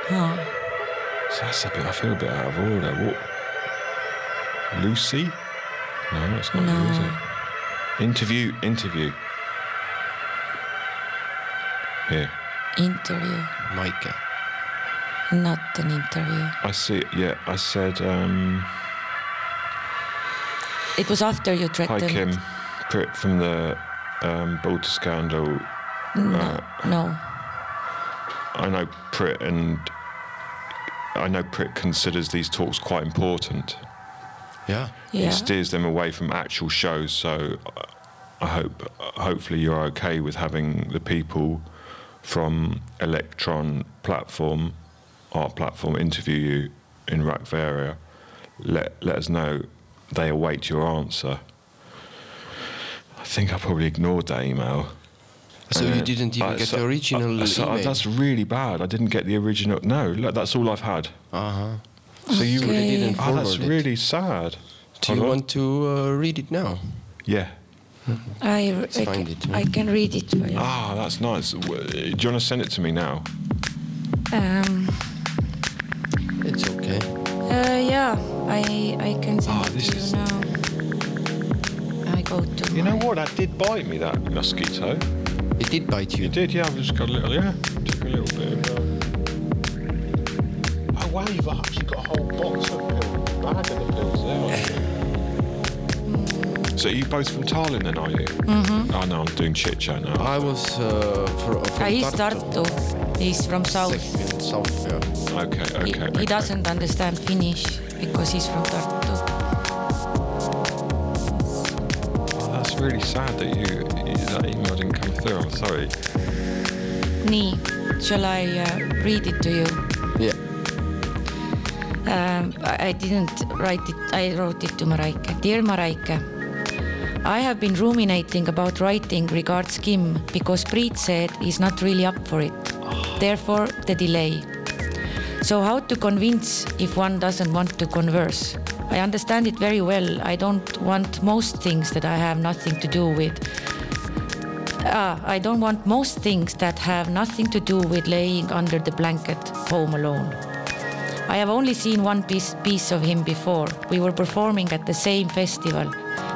S2: Huh.
S1: So that's a bit. I feel a bit out of order. What? Lucy? No, it's not you, is
S2: No.
S1: it? Interview. Interview. Here.
S2: Interview,
S3: Micah.
S2: not an interview.
S1: I see. Yeah, I said. Um,
S2: It was after you
S1: Hi,
S2: threatened.
S1: Kim. Prit from the um, Balter scandal. Uh,
S2: No.
S1: I know Prit and I know Prit considers these talks quite important.
S3: Yeah.
S1: He
S2: Yeah.
S1: steers them away from actual shows, so I hope, hopefully, you're okay with having the people from Electron platform, art platform, interview you in Rakveria. Let let us know. They await your answer. I think I probably ignored that email.
S3: So
S1: Uh,
S3: you didn't even
S1: uh,
S3: get
S1: so-
S3: the original
S1: uh, so, uh,
S3: email.
S1: that's really bad. I didn't get the original. No, look, that's all I've had.
S3: uh huh.
S1: So you
S2: Okay.
S1: really
S3: didn't
S1: Oh, that's
S3: forward it.
S1: really sad.
S3: Do
S1: Hold
S3: you
S1: on.
S3: want to uh, read it now?
S1: Yeah.
S2: I, I, ca-
S3: find it.
S2: I can read it for you.
S1: Ah, that's nice. W- uh, Do you want to send it to me now? Ah.
S2: Um,
S3: It's okay.
S2: uh, yeah, I, I can send
S1: Ah,
S2: it
S1: this
S2: to
S1: is-
S2: you now. I go to
S1: You know
S2: my-
S1: what? That did bite me. That mosquito.
S3: It did bite you.
S1: It did. Yeah, I've just got a little. Yeah, took a little bit. Of, uh... Oh wow, you've actually got a whole box of pill- bag of the pills there. aren't you? So are you both from Tallinn then, are you? Mm-hmm. Oh no, I'm doing chit chat now.
S3: I was uh, fro- from
S2: Ah, he's
S3: Tartu.
S2: Tartu. He's from South.
S3: Second South, yeah.
S1: okay, okay.
S2: He,
S1: okay.
S2: he doesn't understand Finnish because he's from Tartu.
S1: Oh, that's really sad that you that email didn't come through. I'm sorry.
S2: Nii, shall I uh, read it to you?
S3: Yeah.
S2: Um, I I didn't write it, I wrote it to Mareike. Dear Mareike, I have been ruminating about writing regards Kim because Preet said he's not really up for it. Therefore, the delay. So how to convince if one doesn't want to converse? I understand it very well. I don't want most things that I have nothing to do with. Ah, I don't want most things that have nothing to do with laying under the blanket home alone. I have only seen one piece, piece of him before. We were performing at the same festival.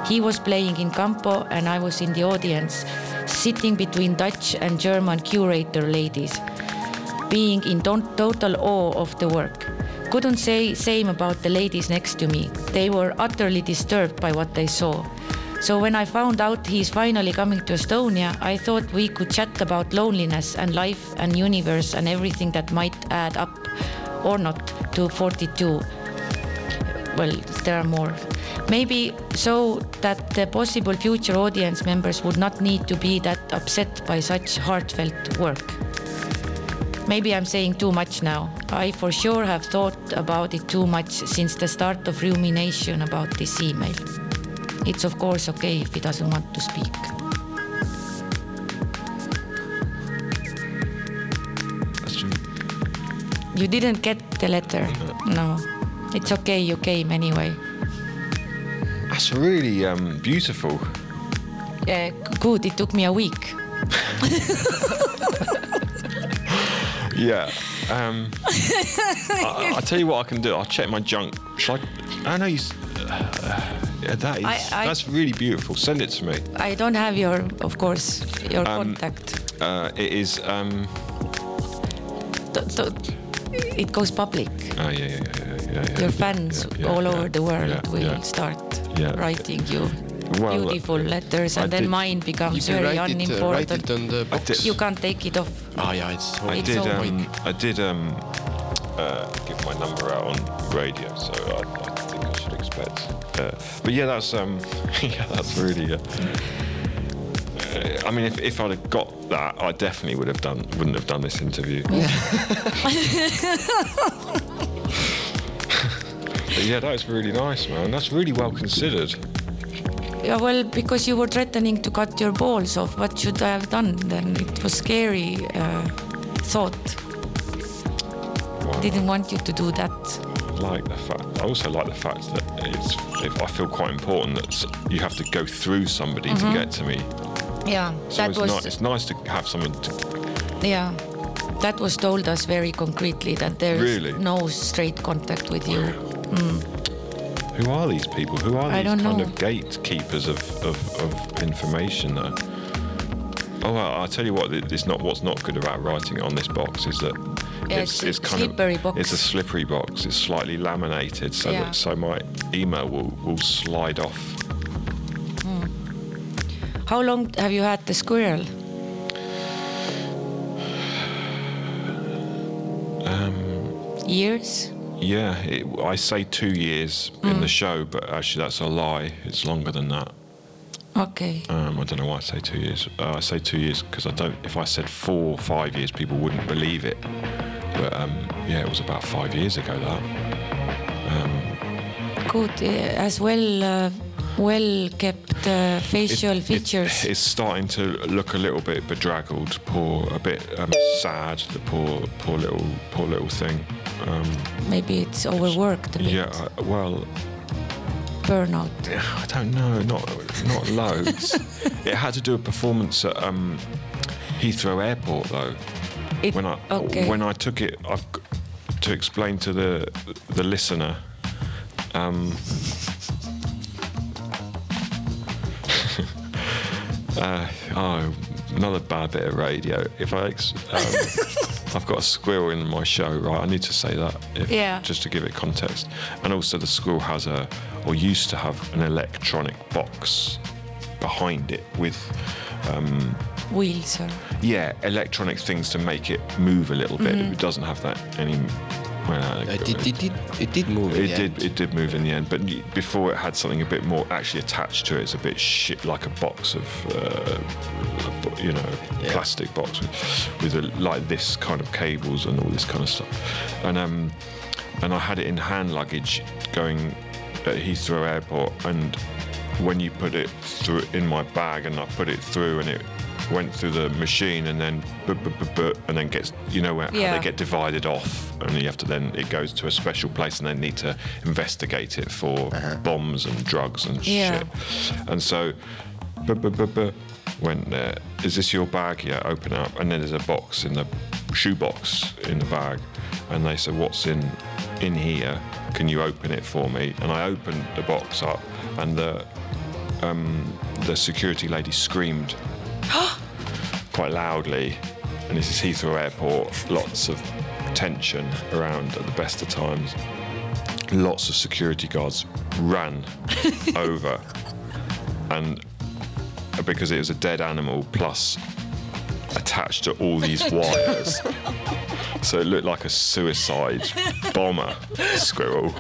S2: He was playing in Campo and I was in the audience, sitting between Dutch and German curator ladies, being in ton- total awe of the work. Couldn't say same about the ladies next to me. They were utterly disturbed by what they saw. So when I found out he's finally coming to Estonia, I thought we could chat about loneliness and life and universe and everything that might add up or not to 42. Well, there are more. Maybe so that the possible future audience members would not need to be that upset by such heartfelt work. Maybe I'm saying too much now. I for sure have thought about it too much since the start of rumination about this email. It's of course okay if he doesn't want to speak.
S1: That's true.
S2: You didn't get the letter. No. It's okay, you came anyway.
S1: That's really um, beautiful.
S2: Yeah, Uh, good. It took me a week.
S1: Yeah. Um, I, I'll tell you what I can do. I'll check my junk. Shall I? I know you. s- yeah, that is.
S2: I- I-
S1: that's really beautiful. Send it to me.
S2: I don't have your, of course, your
S1: Um,
S2: contact.
S1: Uh, it is. Um,
S2: Don't- don't- it goes public.
S1: oh yeah, yeah, yeah, yeah, yeah, yeah,
S2: Your
S1: yeah,
S2: fans
S1: yeah, yeah,
S2: all
S1: yeah,
S2: over the world
S1: yeah,
S2: will
S1: yeah.
S2: start
S1: Yeah.
S2: writing you
S1: Well, uh,
S2: beautiful letters, and
S1: I
S2: then
S1: did-
S2: mine
S3: You
S2: becomes
S3: can
S2: very
S3: write it, uh, write
S2: unimportant.
S3: it on the
S1: I
S3: box.
S1: did.
S2: you can't take it off.
S1: Oh,
S3: Ah, yeah, it's so
S1: I
S2: It's
S1: did.
S2: all
S1: Um, I did. Um, uh, give my number out on radio, so I, I think I should expect. Uh, but yeah, that's. Um, *laughs* yeah, that's really. Uh, uh, I mean, if, if I'd have got that, I definitely would have done. Wouldn't have done this interview. *laughs*
S2: *laughs*
S1: But yeah, that was really nice, man. That's really well considered.
S2: Yeah, well, because you were threatening to cut your balls off. What should I have done then? It was scary uh, thought.
S1: Wow.
S2: Didn't want you to do that.
S1: like the fact. I also like the fact that it's. If I feel quite important that s- you have to go through somebody to get to me.
S2: Yeah,
S1: So
S2: Mm-hmm. that
S1: it's,
S2: was
S1: nice. it's nice to have someone. To,
S2: Yeah, that was told us very concretely that there is
S1: Really?
S2: no straight contact with you.
S1: who are these people? Who are
S2: Mm. I
S1: these
S2: don't
S1: kind
S2: know.
S1: of gatekeepers of, of, of information? That oh, well, I'll tell you what. it- It's not what's not good about writing on this box is that.
S2: Yeah, it's a slippery
S1: of
S2: box.
S1: it's a slippery box. It's slightly laminated, so
S2: Yeah.
S1: that so my email will, will slide off.
S2: How long have you had the squirrel?
S1: Um,
S2: Years?
S1: Yeah, it, I say two years in the
S2: Mm.
S1: show, but actually that's a lie. It's longer than that.
S2: Okay.
S1: Um, I don't know why I say two years. Uh, I say two years because I don't. If I said four or five years, people wouldn't believe it. But um, yeah, it was about five years ago that. Um,
S2: Good. eh, As well, uh, well kept uh,
S1: It-
S2: facial
S1: it-
S2: features.
S1: it's starting to look a little bit bedraggled, poor, a bit um, sad. The poor, poor little, poor little thing. Um,
S2: Maybe it's overworked a bit.
S1: yeah. I, well,
S2: Burnout.
S1: I don't know, not not loads. it had to do a performance at um, Heathrow Airport though.
S2: It-
S1: when I
S2: okay.
S1: when I took it, I've g- to explain to the the listener. Um, *laughs* uh, oh, another bad bit of radio. If I ex-
S2: *laughs*
S1: um, I've got a squirrel in my show, right? I need to say that. If,
S2: Yeah.
S1: Just to give it context, and also the squirrel has a or used to have an electronic box behind it with um,
S2: Wheels. Or,
S1: yeah electronic things to make it move a little bit. It doesn't have that any. well,
S3: Uh, Mm-hmm. did, did, did, it did move. in
S1: it
S3: the
S1: did.
S3: end.
S1: It did move in the end, but y- before it had something a bit more actually attached to it. It's a bit shit, like a box of, uh, a bo- you know,
S3: Yeah.
S1: plastic box with, with a, like this kind of cables and all this kind of stuff. And um, and I had it in hand luggage going at Heathrow Airport, and when you put it through in my bag and I put it through and it went through the machine and then bu- bu- bu- bu- and then gets you know how
S2: Yeah.
S1: they get divided off and you have to then it goes to a special place and they need to investigate it for bombs and drugs and
S2: Yeah.
S1: shit and so bu- bu- bu- bu- went there is this your bag yeah open it up and then there's a box in the shoebox in the bag and they said what's in in here can you open it for me and I opened the box up and the um, the security lady screamed quite loudly. And this is Heathrow Airport, lots of tension around at the best of times. Lots of security guards ran *laughs* over, and because it was a dead animal, plus attached to all these wires. so it looked like a suicide bomber squirrel.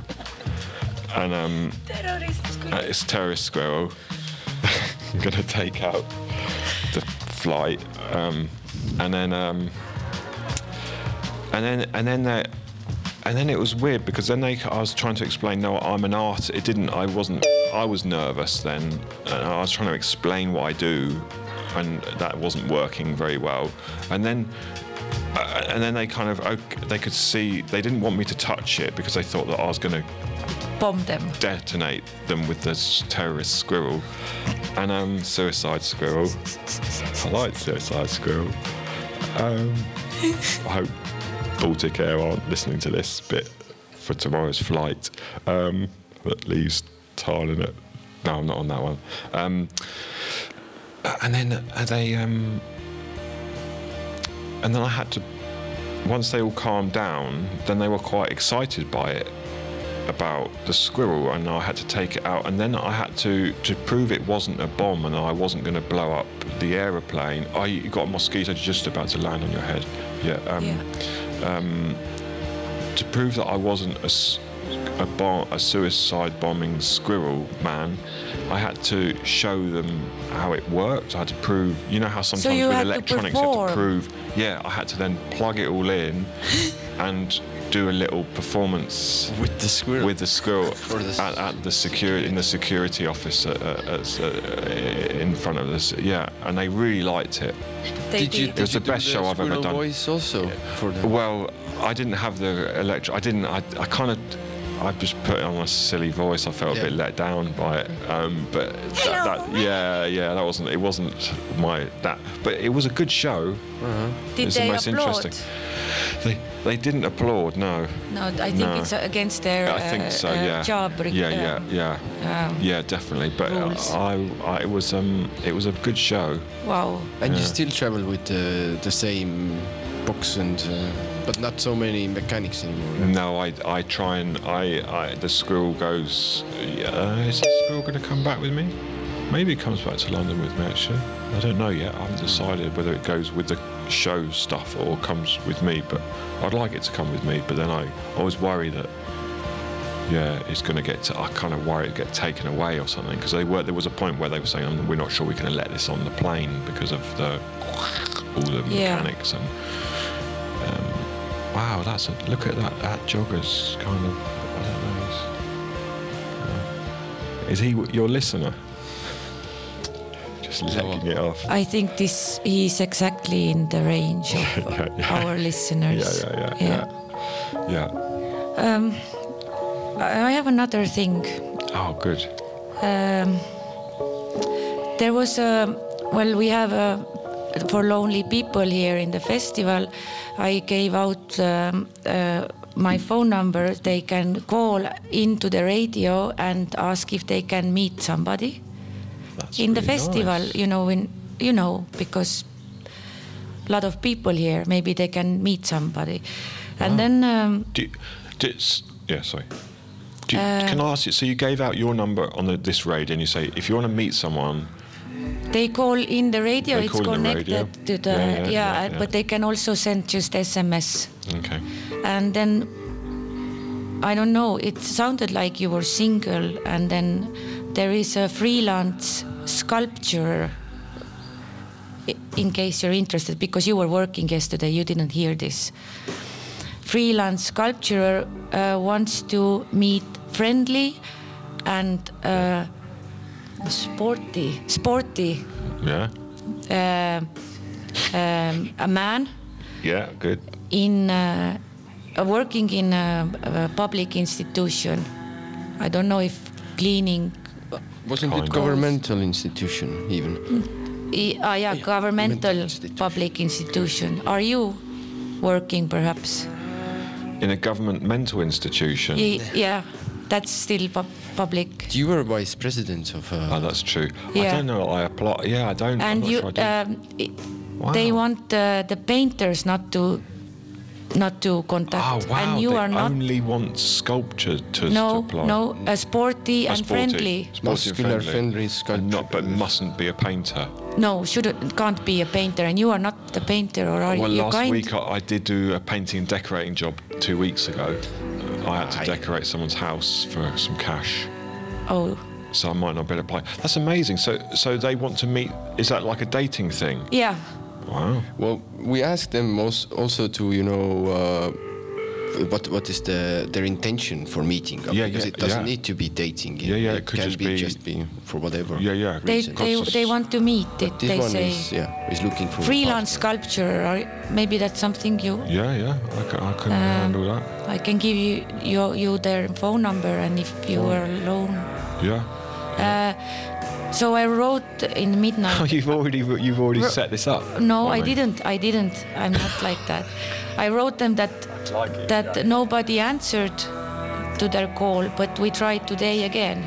S1: And um, uh, it's terrorist squirrel. *laughs* I'm gonna take out the flight, um, and then um, and then and then that. And then it was weird because then they, I was trying to explain. No, I'm an art. It didn't. I wasn't. I was nervous then, and I was trying to explain what I do, and that wasn't working very well. And then uh, and then they kind of ok- they could see they didn't want me to touch it because they thought that I was going to
S2: bomb them
S1: detonate them with this terrorist squirrel and um suicide squirrel i like suicide squirrel um i hope baltic air aren't listening to this bit for tomorrow's flight um that leaves thailand at no i'm not on that one um and then uh, they um and then i had to once they all calmed down then they were quite excited by it about the squirrel and I had to take it out and then I had to to prove it wasn't a bomb and I wasn't going to blow up the aeroplane I you got a mosquito just about to land on your head yeah um,
S2: yeah
S1: to prove that I wasn't a, s- a, bom- a suicide bombing squirrel man, I had to show them how it worked. I had to prove, you know, how sometimes
S2: you
S1: with
S2: had to
S1: electronics you have to
S2: perform.
S1: prove. Yeah, I had to then plug it all
S2: *laughs*
S1: in and do a little performance
S3: With the squirrel.
S1: with the squirrel
S3: Or the s-
S1: at, at the security in the security office at, at, at, uh, in front of us. Yeah, and they really liked it.
S2: they
S3: Did you,
S2: did.
S3: did
S1: was
S3: you
S1: the
S3: do
S1: best show I've ever
S3: squirrel
S1: done.
S3: voice also for them?
S1: Well, I didn't have the electric. I didn't. I, I kind of. I just put on a silly voice. I felt
S3: Yeah.
S1: a bit let down by it. Um, but that, that, yeah, yeah, that wasn't. It wasn't my that. But it was a good show.
S2: Did
S3: Uh-huh.
S1: it's the
S2: they
S1: most
S2: applaud?
S1: interesting. They they didn't applaud. No.
S2: No, I think
S1: No.
S2: it's uh, against their
S1: I
S2: uh,
S1: think so.
S2: uh,
S1: Yeah.
S2: job. re-
S1: yeah, yeah,
S2: um,
S1: yeah, yeah, definitely. But
S2: rules.
S1: I, I, it was um, it was a good show.
S2: Wow.
S3: and you still travel with uh, the same box and, uh, but not so many mechanics anymore. right?
S1: No, I, I try and I, I the squirrel goes. Uh, is the squirrel going to come back with me? Maybe it comes back to London with me. Actually, I don't know yet. I haven't decided whether it goes with the show stuff or comes with me. But I'd like it to come with me. But then I always worry that yeah, it's going to get. I kind of worry it get taken away or something because they were. There was a point where they were saying "Um, we're not sure we're going to let this on the plane because of the all the
S2: Yeah.
S1: mechanics and. Um, Wow, that's a look at that. That jogger's kind of. I don't know. he's- uh, is he w- your listener? Just
S3: what?
S1: lecking it off.
S2: I think this is exactly in the range of
S1: *laughs*
S2: uh,
S1: Yeah, yeah.
S2: our
S1: Yeah,
S2: listeners. Um,
S1: yeah, yeah, yeah, yeah.
S2: I I have another thing.
S1: Oh, good.
S2: Um, there was a well, we have a for lonely people here in the festival. I gave out um, uh, my phone number. They can call into the radio and ask if they can meet somebody
S1: That's
S2: in the
S1: really
S2: festival.
S1: nice.
S2: You know, in you know because a lot of people here. Maybe they can meet somebody, and then. Um,
S1: Do, you- do, s- yeah, sorry. Do you,
S2: Uh,
S1: can I ask you? So you gave out your number on the, this raid, and you say if you want to meet someone,
S2: They call in the radio.
S1: They
S2: it's
S1: call in the
S2: connected
S1: radio.
S2: to the
S1: Yeah,
S2: yeah,
S1: yeah, yeah,
S2: and-
S1: yeah.
S2: but they can also send just SMS.
S1: okay.
S2: And then I don't know. It sounded like you were single, and then there is a freelance sculpture. i- In case you're interested, because you were working yesterday, you didn't hear this. Freelance sculpturer uh, wants to meet friendly and uh, sporty, sporty
S1: Yeah.
S2: uh, um, a man
S1: Yeah. Good.
S2: in uh, uh, working in a, a public institution. I don't know if cleaning.
S3: Wasn't
S1: Kind
S3: it
S1: of.
S3: governmental institution
S2: Mm.
S3: even?
S2: I- Ah, yeah, governmental
S3: institution.
S2: public institution. Are you working perhaps?
S1: In a government mental institution.
S2: Y- yeah, that's still pub- public.
S3: You were vice president of.
S1: Oh,
S3: Uh,
S1: that's true. I
S2: Yeah.
S1: don't know. I apply. Yeah, I don't. I'm
S2: And
S1: not
S2: you,
S1: sure I do.
S2: um, i-
S1: Wow.
S2: they want uh, the painters not to, not to
S1: oh
S2: contact.
S1: wow!
S2: and you
S1: they
S2: are not.
S1: only want sculpture to,
S2: no,
S1: to apply.
S2: no, uh, sporty
S1: A
S2: and
S1: sporty-
S2: friendly.
S1: sporty and
S3: muscular, friendly sculpture.
S1: And not, but mustn't be a painter.
S2: No, shouldn't, can't be a painter, and you are not the painter, or are
S1: well,
S2: you
S1: last
S2: kind?
S1: week I, I did do a painting and decorating job two weeks ago. I had to
S3: Aye.
S1: decorate someone's house for some cash,
S2: oh,
S1: so I might not be able to apply. That's amazing. So, so they want to meet. Is that like a dating thing?
S2: yeah,
S1: Wow.
S3: Well, we asked them als- also to, you know, uh, what what is the their intention for meeting up?
S1: Yeah,
S3: because
S1: yeah,
S3: it
S1: yeah.
S3: doesn't need to be dating.
S1: Yeah, yeah, it could
S3: can
S1: just
S3: be,
S1: be-
S3: just be for whatever.
S1: Yeah, yeah.
S2: they,
S1: Reason.
S2: they,
S1: Costs us-
S2: they want to meet. They,
S3: This
S2: they
S3: one
S2: say
S3: is yeah is looking for a
S2: freelance
S3: partner.
S2: sculpture, or maybe that's something you.
S1: Yeah, yeah. I, c- I can
S2: Um,
S1: handle that.
S2: I can give you your you their phone number, and if you
S3: Oh.
S2: were alone. Uh,
S1: Yeah.
S2: So I wrote in midnight.
S1: Oh, you've already you've already
S2: Ro-
S1: set this up.
S2: No,
S1: for
S2: I
S1: me.
S2: didn't. I didn't. I'm not like that. I wrote them that that nobody answered to their call, but we tried today again.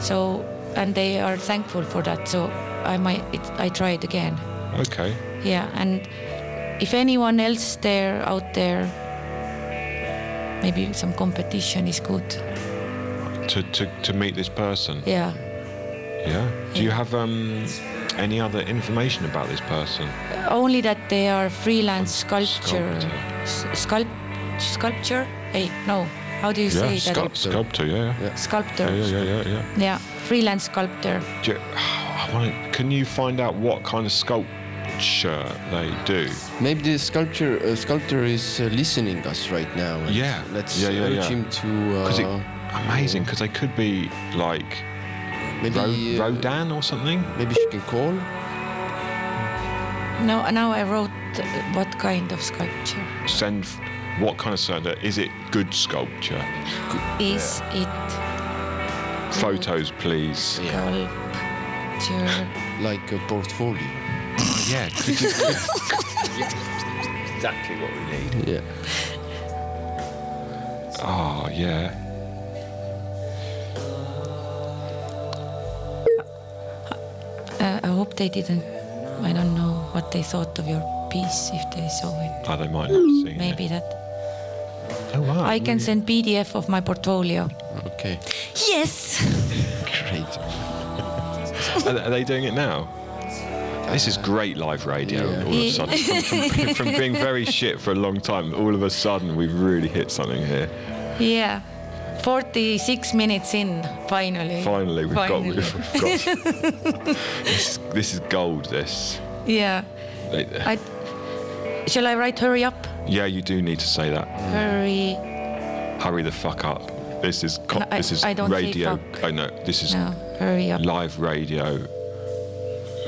S2: So and they are thankful for that. So I might it, I tried again.
S1: Okay.
S2: Yeah, and if anyone else there out there, maybe some competition is good.
S1: To, to, to meet this person.
S2: Yeah.
S1: Yeah. Do you have um, any other information about this person?
S2: only that they are freelance sculpture
S1: Sculptor.
S2: s- sculpt sculpture hey no how do you say that
S3: sculpt- Sculptor.
S1: Sculptor. Yeah. Yeah.
S2: sculptor
S1: Yeah. Yeah. Yeah. yeah, yeah.
S2: Yeah, freelance sculptor
S1: Do you, I want can you find out what kind of sculpture they do?
S3: Maybe the sculpture uh, sculptor is uh, listening us right now. and
S1: Yeah.
S3: let's
S1: Yeah, yeah,
S3: urge
S1: yeah.
S3: him to. Uh,
S1: Because it amazing. Because they could be like
S3: maybe
S1: Ro-
S3: uh,
S1: Rodin or something.
S3: Maybe she can call.
S2: no now i wrote uh, what kind of sculpture
S1: Send f- what kind of sculpture? Is it good sculpture?
S2: is it
S1: Photos, please.
S2: sculpture
S3: Like a portfolio.
S1: Yeah. could you- exactly what we need.
S3: Yeah.
S1: Oh yeah.
S2: uh, i hope they didn't i don't know what they thought of your piece if they saw it
S1: Oh, they might not have seen
S2: maybe
S1: it.
S2: that
S1: Oh wow.
S2: i can send pdf of my portfolio
S3: Okay.
S2: yes
S3: Great.
S1: Are, are they doing it now? This is great live radio.
S3: Yeah.
S1: All of a
S2: *laughs*
S1: sudden, from, from, from being very shit for a long time, all of a sudden we've really hit something here.
S2: Yeah, 46 minutes in, finally.
S1: Finally, we've
S2: Finally.
S1: got. We've got *laughs* this, is, this is gold. This.
S2: Yeah.
S1: They-
S2: I, shall I write hurry up?
S1: yeah, you do need to say that.
S2: Hurry.
S1: Hurry the fuck up. This is co-
S2: No, I-
S1: this is
S2: I don't say
S1: radio.
S2: fuck.
S1: I know this is
S2: No, hurry up.
S1: live radio.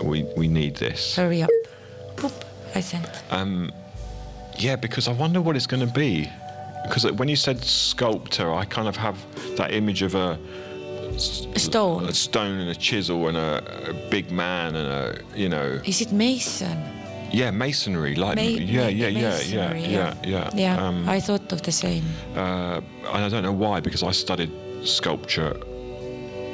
S1: We we need this.
S2: Hurry up. Boop. I sent.
S1: Yeah, because I wonder what it's going to be. Because when you said sculptor, I kind of have that image of a, Uh,
S2: Stone.
S1: a stone and a chisel and a, a big man and a you know
S2: Is it Mason?
S1: yeah masonry like
S2: Ma-
S1: yeah, yeah, yeah yeah
S2: masonry,
S1: yeah yeah
S2: Yeah, Uh,
S1: Um,
S2: I thought of the same.
S1: uh, and I don't know why because I studied sculpture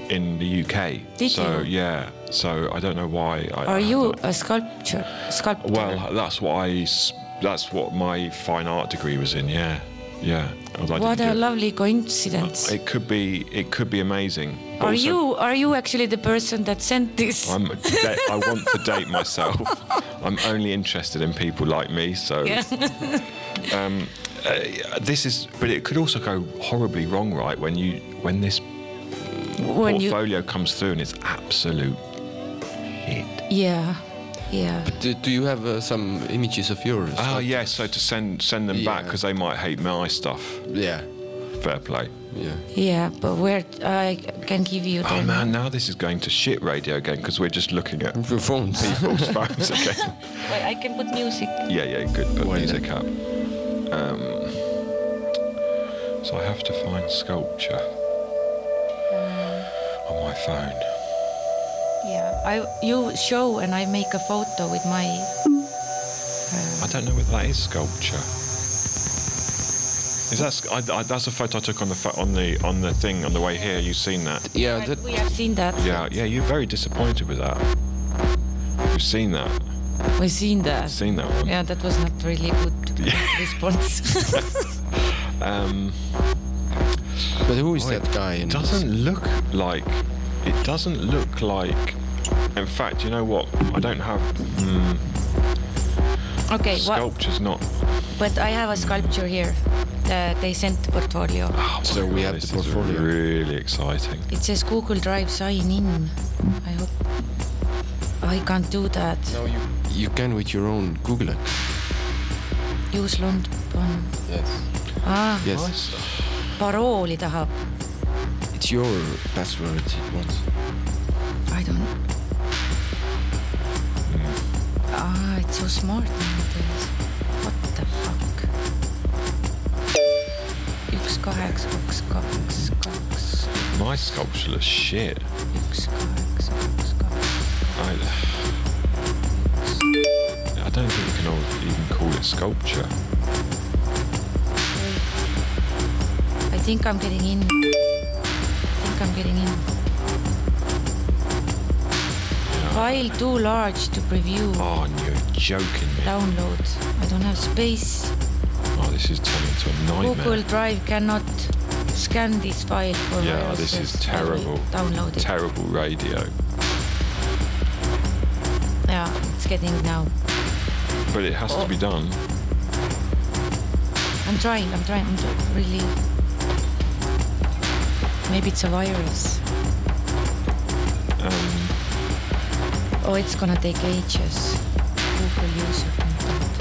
S1: in the UK.
S2: Did
S1: so
S2: you?
S1: yeah, so I don't know why. I,
S2: Are
S1: I
S2: you
S1: don't-
S2: a sculpture? Sculptor?
S1: well, that's what I. s- That's what my fine art degree was in. Yeah, yeah. although I
S2: what
S1: didn't
S2: a
S1: do it.
S2: lovely coincidence.
S1: It could be. It could be amazing. but
S2: are
S1: also,
S2: you are you actually the person that sent this?
S1: I'm. a da- I want to date myself. I'm only interested in people like me. So.
S2: *laughs* Yeah.
S1: uh, this is. But it could also go horribly wrong, right? When you when this
S2: *laughs* when you
S1: portfolio comes through and it's absolute hit.
S2: yeah yeah
S3: Do, do you have uh, some images of yours?
S1: Ah,
S3: Uh,
S1: Oh yeah. So to send send them back
S3: Yeah.
S1: because they might hate my stuff.
S3: Yeah.
S1: fair play.
S3: Yeah.
S2: Yeah, but where I can give you
S1: Oh
S2: the
S1: man, now this is going to shit radio again because we're just looking at
S3: Your phones.
S1: *laughs* people's phones again.
S2: Wait, I can put music.
S1: Yeah, yeah, good. Put
S3: Why
S1: music up. Um, so I have to find sculpture on my phone.
S2: Yeah, I you show and I make a photo with my.
S1: I don't know whether that is sculpture. Is that sc- I, I, that's a photo I took on the pho- on the on the thing on the way here? You've seen that?
S3: Yeah, that,
S2: We have seen that.
S1: Yeah, yeah. You're very disappointed with that. You've seen that?
S2: We've seen that.
S1: Seen that one?
S2: Yeah, that was not really
S1: *laughs*
S2: good response. *laughs*
S3: but who is
S1: Oh,
S3: that guy?
S1: It
S3: in this?
S1: Um, doesn't look like. It doesn't look like. In fact, you know what? I don't have. Mm,
S2: okay, well,
S1: sculpture's not.
S2: but I have a sculpture here. Uh, they sent the portfolio.
S1: Oh
S3: So
S1: my
S3: we
S1: God,
S3: have the
S1: this is
S3: portfolio.
S1: Really exciting.
S2: It says Google Drive sign in. I hope I can't do that.
S3: No, you, you can with your own Google.
S2: Use Lund.
S3: Yes.
S2: Ah,
S3: Yes.
S1: Nice.
S2: parooli tahab.
S3: It's your password. It wants.
S2: I don't. Ah, it's so smart nowadays. What the fuck? üks , kaheksa , kaks , kaks , kaks ,
S1: My sculpture looks shit.
S2: üks , kaheksa , kaks , kaks .
S1: I, I don't think you can all even call it sculpture.
S2: I think I m getting in . I think I m getting in . File too large to preview .
S1: Oh, and you're joking me.
S2: Download . I don't have space .
S1: Oh, this is turning into a nightmare.
S2: Google Drive cannot scan this file for
S1: Yeah,
S2: viruses.
S1: this is
S2: I will
S1: terrible.
S2: Download it.
S1: Terrible radio.
S2: yeah, it's getting now.
S1: But it
S2: Oh,
S1: has to be done.
S2: I'm trying. I'm trying. I'm tr- really. Maybe it's a virus.
S1: Um,
S2: Oh, it's gonna take ages. Google user content.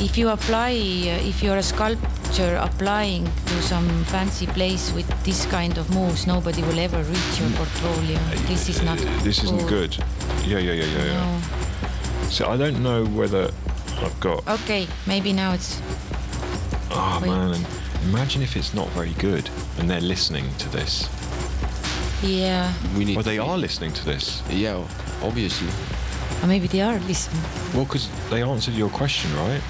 S2: If you apply, uh, if you're a sculptor applying to some fancy place with this kind of moves, nobody will ever reach your portfolio. This is not.
S1: Mm. Uh, This isn't good. Yeah, yeah, yeah, yeah, yeah.
S2: No.
S1: So I don't know whether I've got.
S2: Okay, maybe now it's.
S1: Oh
S2: wait.
S1: man, and imagine if it's not very good and they're listening to this.
S2: Yeah,
S3: We need.
S1: Well, they are listening to this.
S3: Yeah, obviously.
S2: or uh, maybe they are listening.
S1: Well, because they answered your question, right?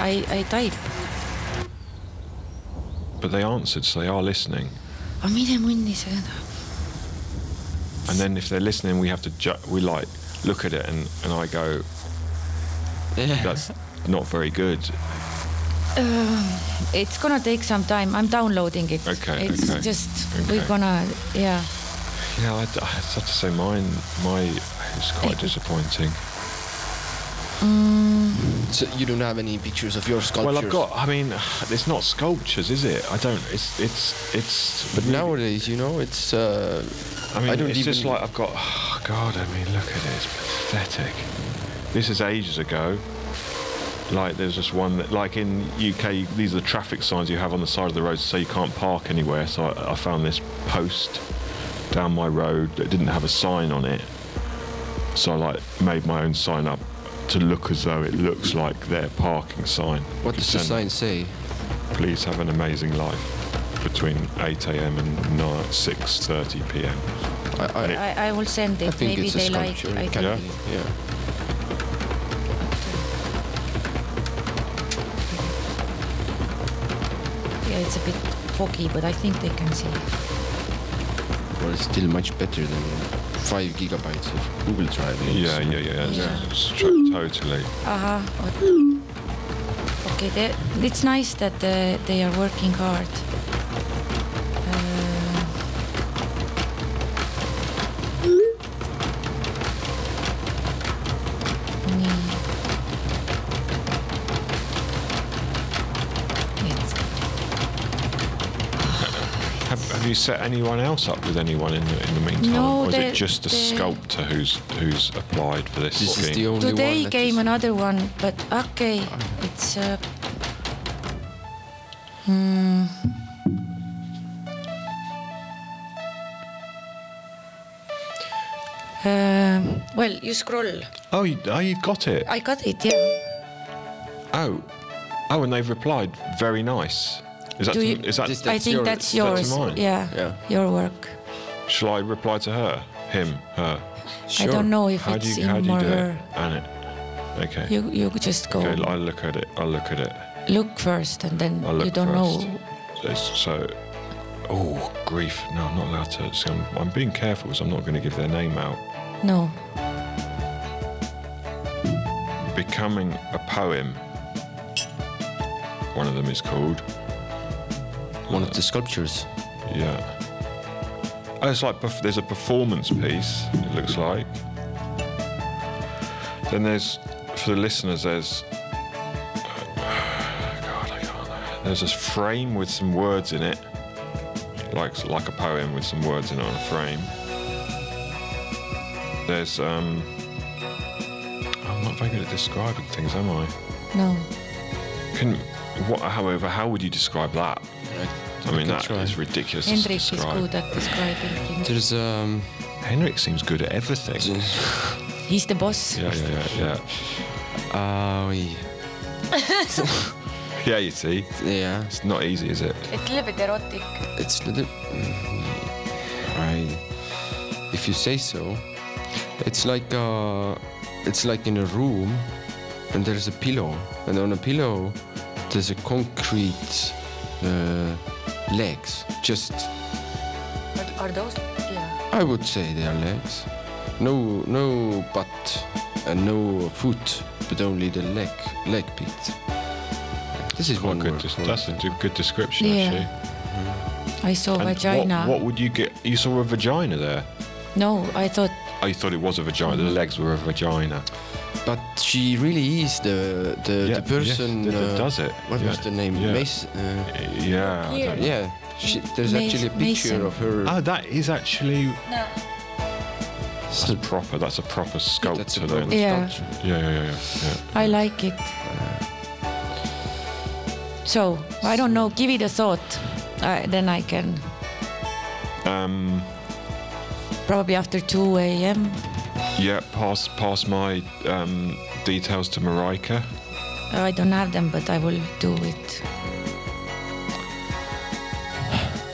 S2: I, I type.
S1: But they answered, so they are listening.
S2: aga mine munni seda .
S1: And then if they're listening, we have to ju- we like look at it and, and I go, that's not very good.
S2: It's gonna take some time. I'm downloading it.
S1: Okay,
S2: It's
S1: okay,
S2: just
S1: okay.
S2: we're gonna yeah.
S1: Yeah, I, I have to say mine. My it's quite disappointing.
S3: So you don't have any pictures of your sculptures.
S1: Well, I've got. I mean, *sighs* it's not sculptures, is it? I don't. It's it's it's.
S3: But nowadays, you know, it's. Uh,
S1: I mean,
S3: I don't
S1: it's
S3: even.
S1: just like I've got. *sighs* Oh God, I mean, look at it. It's pathetic. This is ages ago. Like there's just one that, like in UK, these are the traffic signs you have on the side of the road to say you can't park anywhere. So I, I found this post down my road that didn't have a sign on it. So I like made my own sign up to look as though it looks like their parking sign.
S3: what does the
S1: Send-
S3: sign say?
S1: Please have an amazing life between 8 a.m. and 6:30 p.m.
S3: I, I,
S1: Yeah.
S2: I, I will send
S3: I
S2: it.
S3: think
S2: Maybe
S3: it's a
S2: they like.
S3: sculpture.
S2: I
S3: It
S2: think.
S1: Yeah.
S3: can be, yeah.
S2: Yeah, it's a bit foggy, but I think they can see.
S3: Well, it's still much better than five gigabytes of Google Drive.
S1: Yeah, yeah, yeah.
S2: Yeah.
S1: It's tr- totally.
S2: Aha. Okay, they, it's nice that uh, they are working hard. Uh, nii. It's-
S1: Have, have you set anyone else up with anyone in the, in the meantime,
S2: No,
S1: or is
S2: they-
S1: it just a
S2: they-
S1: sculptor who's who's applied for this?
S3: This is
S1: scheme?
S3: the only one.
S2: Today
S3: that
S2: came
S3: is-
S2: another one, but okay, it's uh, Uh, well, you scroll.
S1: Oh, you, oh, you've got it.
S2: I got it. Yeah.
S1: Oh, oh, and they've replied. Very nice. Is that?
S2: Do
S1: to-
S2: you-
S1: is that?
S3: Just-
S2: I
S3: That's
S2: think
S3: yours.
S2: that's
S1: That's
S2: yours.
S1: mine.
S2: Yeah.
S3: Yeah.
S2: Your work.
S1: Shall I reply to her? Him? Her?
S2: I don't know if
S1: How do
S2: it's
S1: you?
S2: in
S1: How do you
S2: more.
S1: do it? Anna. Okay.
S2: You you just go
S1: okay. I'll look at it. I'll look at it.
S2: look first, and then
S1: I'll look
S2: you don't
S1: first.
S2: know.
S1: It's- so. Oh grief! No, I'm not allowed to. See, I'm, I'm being careful, so I'm not going to give their name out.
S2: No.
S1: Becoming a poem. One of them is called.
S3: One of the sculptures.
S1: Yeah. Oh, it's like perf- there's a performance piece. It looks like. Then there's for the listeners. There's. *sighs* God, I can't. There's this frame with some words in it, like like a poem with some words in it on a frame. There's um. I'm not very good at describing things, am I?
S2: No.
S1: Can what? However, how would you describe that? I mean, that
S3: try.
S1: is ridiculous. to
S2: Hendrik is
S1: describe.
S2: good at describing things.
S3: There's um,
S1: Henrik seems good at everything.
S2: He's the boss.
S1: Yeah, yeah, yeah, yeah.
S3: uh, yeah.
S1: Yeah, you see,
S3: yeah.
S1: it's not easy, is it?
S2: It's a little bit erotic.
S3: It's a little. I, if you say so, it's like uh, it's like in a room, and there's a pillow, and on a pillow, there's a concrete uh, legs. Just
S2: Are, are those? Yeah.
S3: I would say they are legs. No, no butt and no foot, but only the leg leg bit. This is one
S1: Quite good.
S3: word.
S1: des-
S3: for it.
S1: that's a d- good description,
S2: Yeah.
S1: actually.
S2: I saw
S1: And what-
S2: vagina.
S1: What, would you get? You saw a vagina there.
S2: No, I thought
S1: Oh, you thought it was a vagina.
S2: Mm-hmm.
S1: The legs were a vagina.
S3: But she really is the Uh, the,
S1: Yeah,
S3: the person.
S1: yes, that- that
S3: uh,
S1: does it.
S3: What
S1: Yeah,
S3: was the name?
S1: yeah.
S3: Mason. Uh,
S1: Yeah. I don't know.
S3: yeah. She, there's
S2: Mas-
S3: actually a picture
S2: Mason.
S3: of her.
S1: Oh, that is actually that's
S3: So-
S1: proper. That's a proper sculpture.
S3: that's a
S1: then.
S3: proper
S2: Yeah.
S3: sculpture.
S1: Yeah, yeah, yeah, yeah.
S2: I like it. So I don't know. Give it a thought. Uh, then I can
S1: yeah. Um,
S2: probably after two a.m.
S1: yeah. Pass, pass my um, details to Marika.
S2: I don't have them, but I will do it.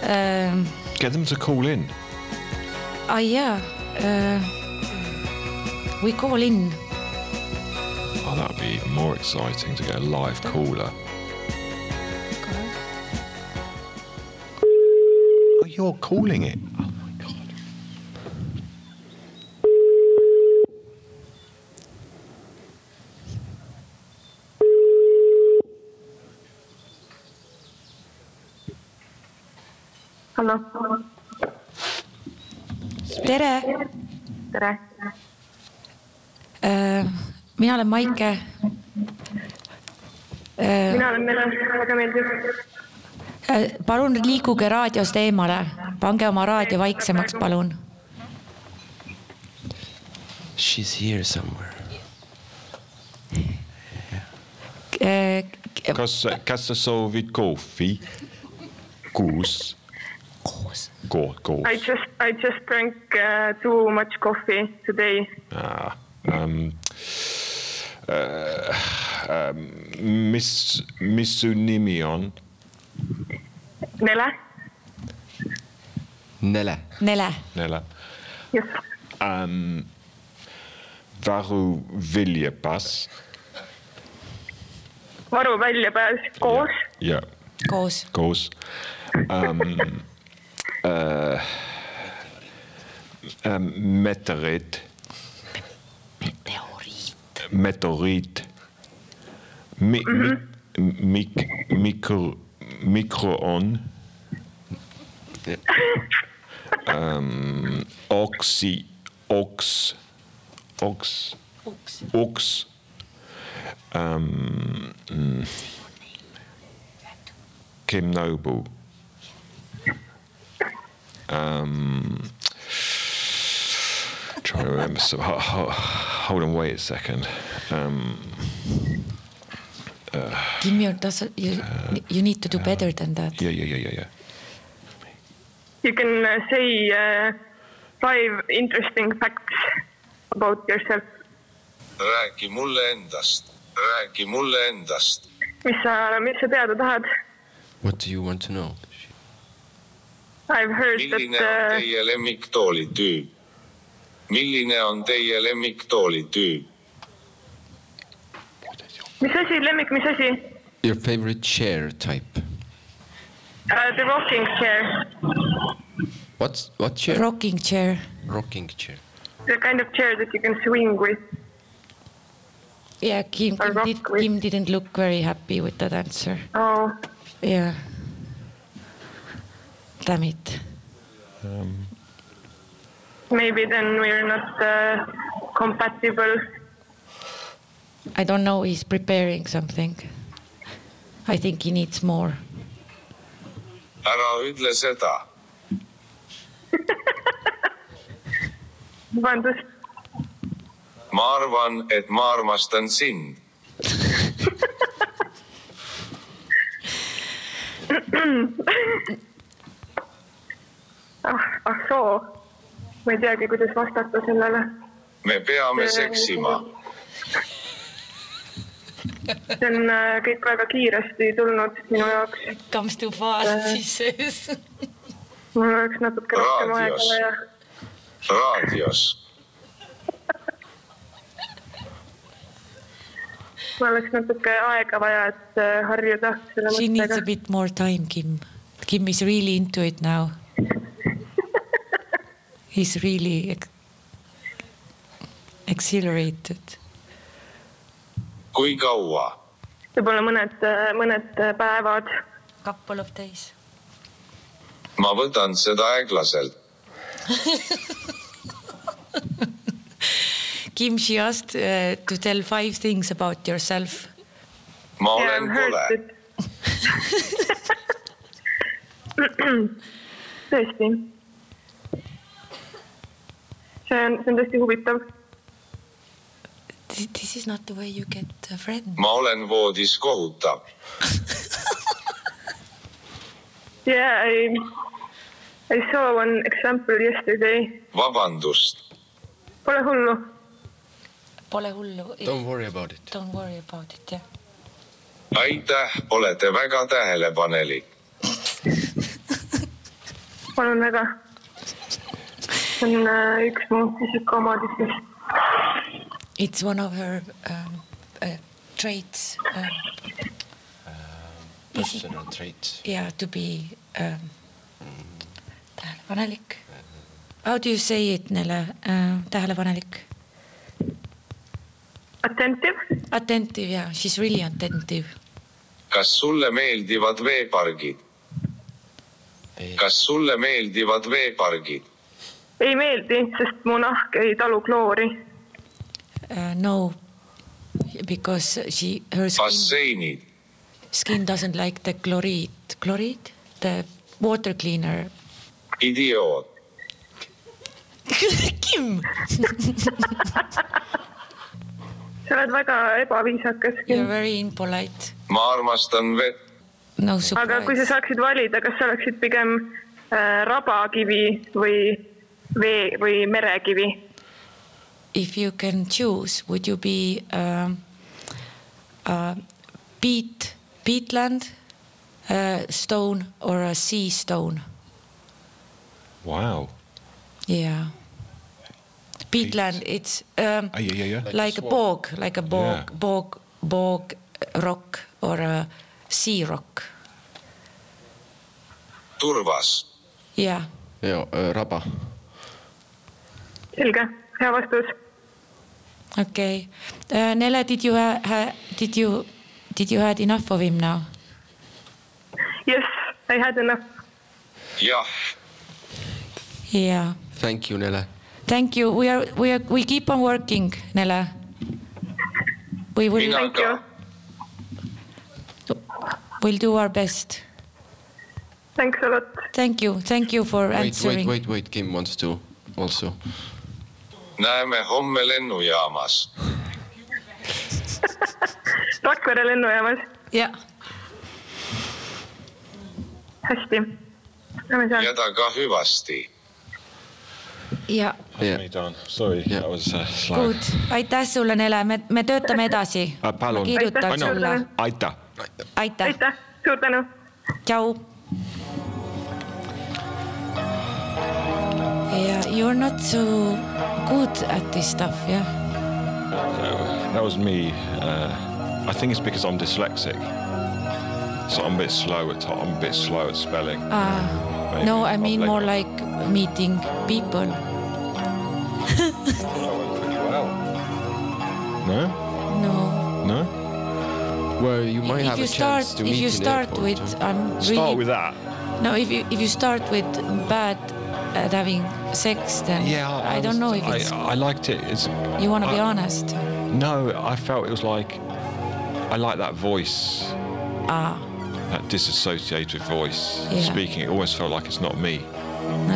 S2: Um,
S1: Get them to call in.
S2: ah, yeah. Uh, we call in.
S1: Oh, that would be even more exciting to get a live caller. Oh, you're calling it. Oh my god.
S4: hallo ,
S2: tere
S4: tere .
S2: uh, , mina olen Maike uh, .
S4: mina olen Mele , väga meeldiv .
S2: Äh, palun liikuge raadiost eemale , pange oma raadio vaiksemaks , palun .
S3: She's here somewhere.
S2: Äh,
S1: Kas , kas sa soovid kohvi ? kuus .
S2: koos .
S1: Ko- , koos
S4: I . just , I just drank uh, too much coffee today .
S1: Um, uh, um, mis , mis su nimi on ?
S4: Nele ,
S3: Nele.
S2: Nele ,
S1: Nele .
S4: jah ,
S1: Um, varu Viljapas .
S4: varu väljapääs koos .
S1: ja
S2: koos .
S1: koos *laughs* eh, um, . Uh, um, meteoriit ,
S2: teorii .
S1: meteoriit mi, mm -hmm. mi, mik, mikro , mikroon um, . oksi , oks , oks , oks um, . Kim Noble. Um, trying to remember some. ho- ho- Hold on, wait a second. Um, uh,
S2: Give me your dozen. You, you need to do better than that.
S1: Yeah, yeah, yeah, yeah, yeah.
S4: You can uh, say uh, five interesting facts about yourself.
S5: räägi mulle endast , räägi mulle endast ,
S4: mis sa , mis sa teada tahad ?
S3: What do you want to know?
S4: I've heard
S5: milline
S4: that
S5: on
S4: uh,
S5: teie lemmiktooli tüüp ? milline on teie lemmiktooli tüüp ?
S4: mis asi , lemmik , mis asi
S3: Your favorite chair type.
S4: uh, ? The rocking chair ,
S3: What's what chair?
S2: Rocking chair.
S3: Rocking chair.
S4: the kind of chair that you can swing with .
S2: Yeah, Kim,
S4: A
S2: Kim,
S4: rock
S2: did,
S4: with-
S2: Kim didn't look very happy with that answer.
S4: oh ,
S2: Yeah. Damn it.
S4: maybe then we're not uh, compatible .
S2: I don't know. He's preparing something. I think he needs more.
S5: ära ütle seda ,
S4: vabandust ,
S5: ma arvan , et ma armastan sind .
S4: ah , ah soo , ma ei teagi , kuidas vastata sellele .
S5: me peame seksima ,
S4: see on uh, kõik väga kiiresti tulnud minu jaoks .
S2: Comes too
S4: Uh,
S2: fast, he says.
S4: mul oleks natuke rohkem aega
S5: Raadios.
S4: vaja .
S5: raadios ,
S4: mul oleks natuke aega vaja , et uh, harjuda selle
S2: She needs a
S4: mõttega .
S2: bit more time, Kim. Kim is really into it now. He's really ex- exhilarated.
S5: kui kaua ,
S4: võib-olla mõned uh, , mõned uh, päevad .
S2: Couple of days.
S5: ma võtan seda aeglaselt .
S2: Kim, she asked uh, to tell five things about yourself.
S5: ma
S4: Yeah, I've
S5: olen
S4: heard
S5: kole ,
S4: that- *clears throat* tõesti . see on , see on tõesti huvitav .
S2: Th- This is not the way you get uh, a friend.
S5: ma olen voodis kohutav ,
S4: Yeah , I , I saw one example yesterday .
S5: vabandust ,
S4: Pole hullu .
S2: Pole hullu.
S3: Don't worry
S2: *laughs*
S3: about it.
S2: Don't worry about it, yeah.
S5: aitäh , olete väga tähelepanelik .
S4: palun väga . see on äh, üks mu isikuomadustest .
S2: It's one of her um, uh, traits. Um,
S3: Personal trait.
S2: yeah, to be um, tähelepanelik. How do you say it, Nele uh,? tähelepanelik?
S4: Attentive ,
S2: Attentive, yeah. She's really attentive.
S5: kas sulle meeldivad veepargid ? kas sulle meeldivad veepargid ?
S4: ei meeldi , sest mu nahk ei talu kloori .
S2: Uh, no, because she her skin,
S5: basseinid ,
S2: skin doesn't like the chloride. Chloride? The water cleaner.
S4: *laughs*
S5: idioot ,
S2: Kim!
S4: sa oled väga ebaviisakas .
S2: *laughs* You're very impolite.
S5: ma armastan vett ,
S2: No
S4: aga kui sa
S2: surprise.
S4: saaksid valida , kas sa oleksid pigem äh, rabakivi või vee või merekivi ?
S2: If you can choose, would you be um, uh, peat, peatland, uh, stone, or a sea stone?
S1: Wow.
S2: Yeah. Peatland, it's um,
S1: Ah, yeah, yeah, yeah.
S2: like a bog, like a bog,
S1: Yeah.
S2: bog, bog rock or a sea rock.
S5: turvas ,
S2: Yeah.
S3: Yeah, uh, raba.
S4: selge , hea vastus .
S2: Okay. Uh, Nele, did you ha- ha- did you did you had enough of him now?
S4: Yes , I had enough .
S5: jah ,
S2: Yeah.
S3: Thank you, Nella.
S2: Thank you. We are we are we keep on working, Nele. We will
S5: mina
S4: Thank you.
S5: ka ,
S2: we'll do our best.
S4: Thanks a lot .
S2: Thank you. Thank you for
S3: Wait,
S2: answering.
S3: wait, wait, wait. Kim wants to also.
S5: näeme homme lennujaamas .
S4: Rakvere lennujaamas .
S2: ja ,
S4: hästi . Lähme seal
S5: ja . taga hüvasti .
S2: ja
S3: Yeah.
S1: Me done. Sorry,
S3: Yeah.
S1: that was uh, slow.
S2: good , aitäh sulle , Nele , me , me töötame edasi
S1: Äh, . palun.
S2: kirjutan
S4: Aitäh
S2: sulle
S4: sulle. ,
S1: Aita.
S2: aitäh ,
S4: aitäh , suur tänu
S2: tšau . ja you are not so good at this stuff , jah .
S1: That was me. Uh, I think it's because I'm dyslexic. So I'm a bit slow at I'm a bit slow at spelling. Maybe
S2: Ah. No , I
S1: I'll
S2: mean
S1: blame
S2: more
S1: it.
S2: like meeting people .
S1: No,
S2: no .
S1: no.
S3: Well, you might
S2: If
S3: have
S2: you
S3: a
S2: start
S3: chance to meet
S2: if you
S3: in the
S2: start
S3: airport.
S2: with
S3: huh?
S2: I am
S1: Start
S2: really
S1: with that.
S2: no if you if you start with bad at having sex then
S1: Yeah,
S2: I, don't know if
S1: I,
S2: it's
S1: I liked it. It's
S2: you want to be
S1: I-
S2: honest
S1: no. I felt it was like I like that voice. Ah. That disassociated voice
S2: Yeah.
S1: speaking. It almost felt like it's not me.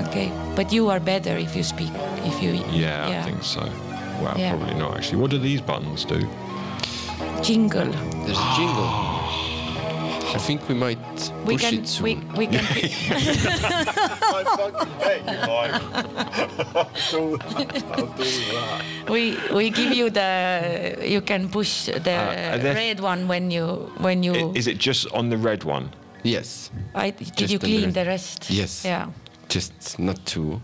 S2: okay but you are better if you speak if you
S1: Yeah, I think so. Well,
S2: Yeah.
S1: probably not actually. What do these buttons do?
S2: jingle
S3: There's a jingle. I think we might push
S2: we can
S3: it
S2: we,
S3: soon.
S2: we can
S1: *laughs*
S2: we we give you the you can push the
S1: Uh, are there-
S2: red one when you when you
S1: I- Is it just on the red one?
S3: Yes.
S2: I, did
S3: Just
S2: you
S3: the
S2: clean the
S3: red.
S2: rest
S3: Yes.
S2: yeah
S3: Just not to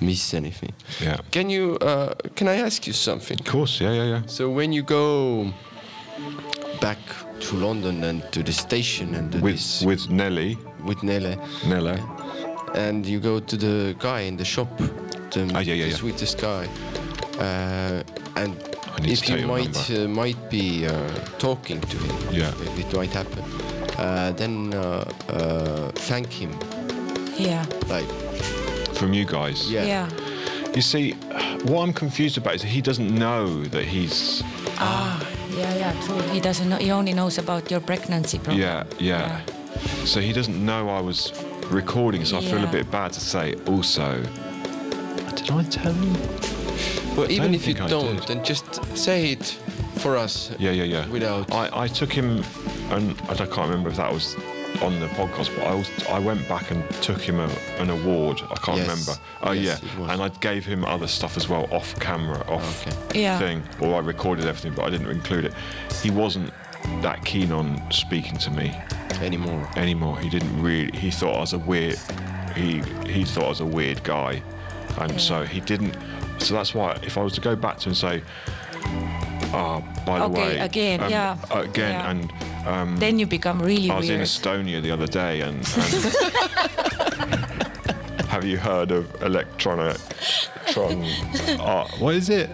S3: miss anything.
S1: Yeah.
S3: Can you? Uh, can I ask you something?
S1: Of course. Yeah, yeah, yeah.
S3: So when you go back to London and to the station and to
S1: With
S3: this,
S1: with Nelly,
S3: with Nele,
S1: Nella.
S3: and you go to the guy in the shop, the,
S1: Ah, yeah, yeah,
S3: the
S1: yeah.
S3: sweetest guy, uh, and
S1: I need to
S3: if
S1: take
S3: you
S1: your
S3: might
S1: number.
S3: uh, might be uh, talking to him,
S1: Yeah.
S3: if it might happen, uh, then uh, uh, thank him,
S2: yeah
S3: like
S1: from you guys.
S3: Yeah.
S2: yeah
S1: You see, what I'm confused about is he doesn't know that he's.
S2: yeah yeah true he doesn't know he only knows about your pregnancy problem
S1: Yeah, yeah. So he doesn't know I was recording, so I feel a
S2: Yeah.
S1: bit bad to say. Also, did I tell him?
S3: Well, even
S1: don't
S3: if you
S1: think I
S3: don't,
S1: did.
S3: then just say it for us.
S1: Yeah, yeah, yeah.
S3: Without.
S1: I, I took him, and I don't- can't remember if that was on the podcast, but I was, I went back and took him a, an award. I can't
S3: Yes.
S1: remember. Oh
S3: Yes, it
S1: yeah,
S3: was.
S1: and I gave him other stuff as well, off camera, off
S3: Okay.
S2: Yeah.
S1: thing, or I recorded everything, but I didn't include it. He wasn't that keen on speaking to me
S3: anymore.
S1: anymore. He didn't really. He thought I was a weird. He he thought I was a weird guy, and so he didn't. So that's why if I was to go back to him and say, ah, by the way,
S2: Okay, again,
S1: um,
S2: yeah,
S1: again,
S2: yeah.
S1: and
S2: then you become really
S1: I was in
S2: weird
S1: Estonia the other day,
S2: *laughs*
S1: and. and Have you heard of electronic? Tron,
S2: *laughs*
S1: art? what is it?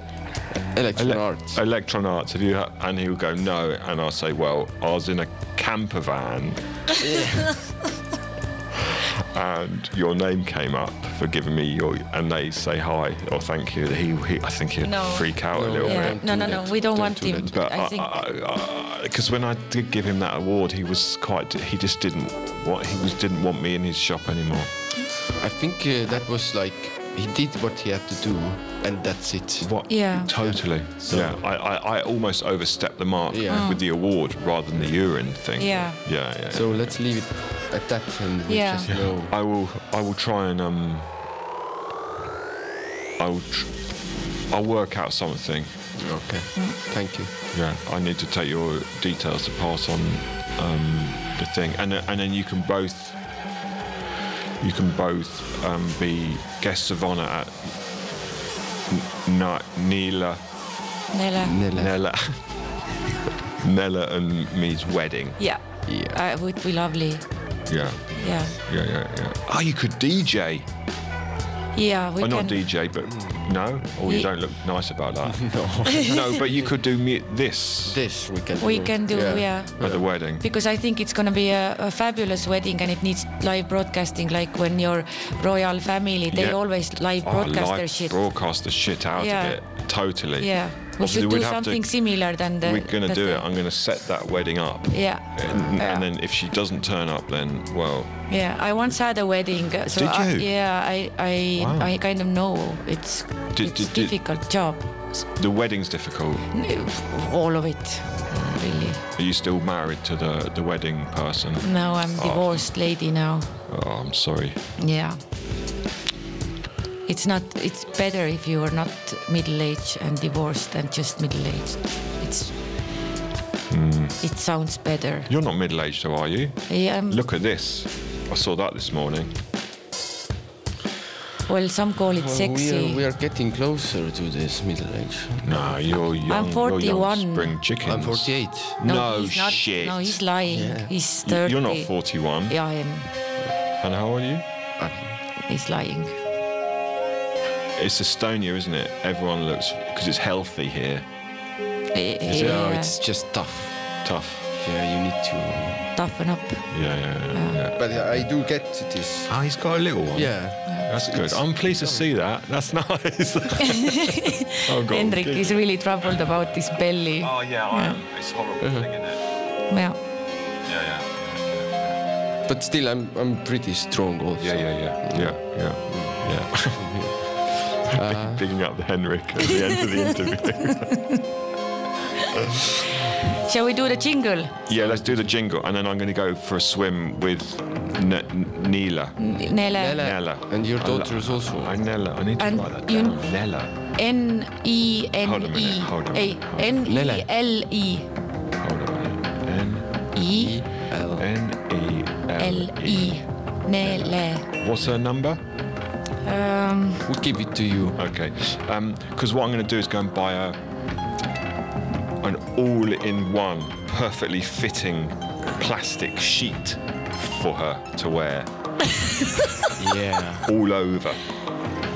S3: Electron
S1: Ele-
S3: arts.
S1: Electron arts. Have you? Heard? And he would go no, and I'll say, well, I was in a camper
S3: *laughs*
S1: van, and your name came up for giving me your, and they say hi or thank you. He, he I think he'd
S2: No.
S1: freak out a
S3: No,
S1: little
S3: yeah.
S1: bit.
S3: Don't
S2: no
S3: do
S2: no no
S3: that.
S2: we don't,
S3: Don't
S2: want
S3: do
S2: him
S3: that.
S1: But
S2: I
S1: *laughs*
S2: think
S1: because when I did give him that award, he was quite. He just didn't. What he was didn't want me in his shop anymore.
S3: I think uh, that was like he did what he had to do, and that's it.
S1: What?
S2: Yeah.
S1: Totally.
S3: So-
S1: yeah. I, I, I almost overstepped the mark
S3: Yeah. Mm.
S1: with the award rather than the urine thing.
S2: Oh. Yeah.
S1: Yeah. yeah.
S3: So let's leave it at that, and we
S2: Yeah.
S3: just know.
S1: I will. I will try and um. I will. Tr- I'll work out something.
S3: Okay.
S2: Mm.
S3: Thank you.
S1: Yeah. I need to take your details to pass on um, the thing, and and then you can both. You can both um, be guests of honour at N- Na- Neela,
S2: Nella
S1: *laughs*
S3: Nella.
S1: Nella, Nella and me's wedding.
S2: yeah
S3: Yeah.
S2: Uh, it would be lovely
S1: Yeah,
S2: yeah
S1: yeah, yeah, yeah. Oh, you could DJ.
S2: yeah we
S1: Well, not
S2: can
S1: DJ, but no. Or you
S2: Ye-
S1: don't look nice about
S2: *laughs*
S1: that. no. but you could do mu- this
S3: This we can.
S2: we
S3: do.
S2: can do yeah,
S1: at the wedding.
S2: because I think it's going to be a, a fabulous wedding and it needs live broadcasting like when your royal family they
S1: Yeah.
S2: always live
S1: Oh,
S2: *laughs* broadcast
S1: like
S2: their shit
S1: broadcast the shit out
S2: Yeah.
S1: of it. Totally.
S2: yeah we
S1: Obviously,
S2: should
S1: we'd
S2: do
S1: have to-
S2: something similar than the
S1: We're gonna
S2: the
S1: do it.
S2: thing.
S1: I'm gonna set that wedding up.
S2: yeah
S1: And,
S2: yeah.
S1: and then if she doesn't turn up, then well,
S2: Yeah, I once had a wedding. uh, So
S1: Did
S2: I,
S1: you?
S2: yeah, I I
S1: Wow.
S2: I kind of know it's
S1: Did-
S2: it's
S1: did- did-
S2: difficult job.
S1: The wedding's difficult.
S2: all of it, really.
S1: Are you still married to the, the wedding person?
S2: No, I'm divorced lady now.
S1: Oh, I'm sorry.
S2: Yeah. It's not. It's better if you are not middle aged and divorced than just middle aged. It's.
S1: Hmm.
S2: It sounds better.
S1: You're not middle aged, though, are you?
S2: Yeah. um,
S1: Look at this. I saw that this morning.
S2: Well, some call it
S3: Well,
S2: sexy.
S3: We, are, we are getting closer to this middle age.
S1: No, you're young. You're
S2: 41.
S1: young spring chickens.
S3: I'm 48.
S1: No,
S2: he's not,
S1: shit.
S2: No, he's lying.
S3: Yeah.
S2: He's
S1: Y-
S2: 30.
S1: You're not 41.
S2: Yeah, I am.
S1: And how old are you?
S2: He's lying.
S1: It's Estonia, isn't it? Everyone looks because it's healthy here.
S2: Yeah.
S3: Yeah. Oh,
S2: uh,
S3: it's just tough.
S1: Tough.
S3: Yeah, you need to.
S2: Toughen up.
S1: Yeah, yeah, yeah. yeah.
S3: But I do get this.
S1: Oh, he's got a little one.
S3: Yeah.
S1: That's good. I'm pleased to see that. That's *laughs*
S2: *laughs*
S1: nice. Oh, I've got
S2: Hendrik is really troubled about his belly.
S1: Oh yeah, I am. It's a horrible thing, isn't it?
S2: Yeah.
S1: Yeah, yeah,
S3: But still, I'm I'm pretty strong also.
S1: yeah, yeah, yeah, yeah, yeah. yeah. Picking up the Henrik at the end of the interview.
S2: Shall we do the jingle?
S1: yeah, let's do the jingle, and then I'm going to go for a swim with N- N- Nila.
S2: N- Nele.
S1: Nella.
S3: And your
S1: I
S3: daughter
S1: lo-
S3: is also.
S1: I Nella. I need to
S2: And
S1: write that
S2: you-
S1: down. Nella.
S2: N E
S1: Hold a
S2: N
S1: minute,
S2: E.
S1: hold on,
S2: Ei,
S1: hold on.
S2: N E
S3: Nele.
S2: L E.
S1: Hold on. N
S2: E
S3: L.
S1: N E
S2: L
S1: L
S2: E.
S1: E.
S2: Nele.
S1: What's her number?
S2: Um,
S3: We'll give it to you.
S1: Okay. Because what I'm going to do is go and buy a an all-in-one, perfectly fitting plastic sheet for her to wear
S3: Yeah.
S1: all over
S3: *laughs*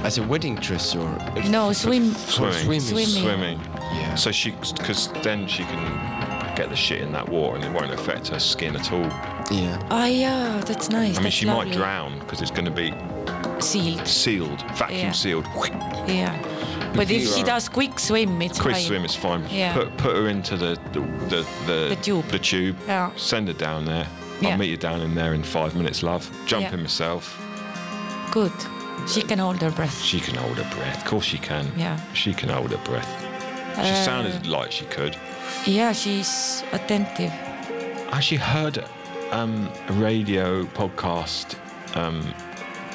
S3: As a wedding dress or.
S2: no, swim.
S1: swimming.
S3: swimming.
S2: Swimming.
S3: Yeah.
S1: So she, because then she can get the shit in that water and it won't affect her skin at all.
S3: Yeah.
S2: Ah, yeah, that's nice.
S1: I mean,
S2: that's
S1: she
S2: lovely.
S1: might drown because it's going to be
S2: Sealed.
S1: sealed, vacuum
S2: Yeah.
S1: sealed.
S2: Yeah. But if she
S1: Zero.
S2: does quick swim, it's
S1: Quick
S2: fine.
S1: swim is fine.
S2: Yeah.
S1: Put, put her into the the, the, the,
S2: The tube.
S1: The tube.
S2: Yeah.
S1: Send her down there.
S2: Yeah.
S1: I'll meet you down in there in five minutes, love. Jump
S2: Yeah.
S1: in myself.
S2: Good. She can hold her breath.
S1: She can hold her breath. Of course she can.
S2: Yeah. Uh,
S1: She can hold her breath. She sounded like she could.
S2: Yeah, she's attentive.
S1: I actually heard um, a radio podcast um,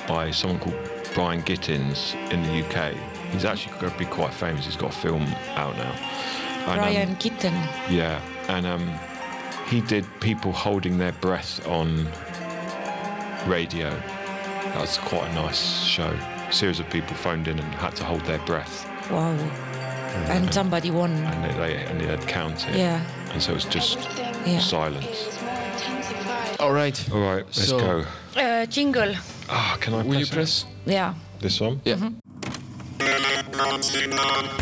S1: by someone called Brian Gittins in the UK. He's actually going to be quite famous. He's got a film out now. And, um,
S2: Brian Kitten.
S1: Yeah, and um, he did people holding their breath on radio. That was quite a nice show. A series of people phoned in and had to hold their breath,
S2: Wow. And somebody won.
S1: and they, they and they had count it.
S2: Yeah.
S1: And so it's just
S2: Yeah.
S1: silence.
S3: All right.
S1: All right, let's
S3: So-
S1: go.
S2: Uh, jingle.
S1: Ah, can I?
S3: Will you
S1: it?
S3: press?
S2: Yeah.
S1: this one?
S3: Yeah.
S5: Sinna on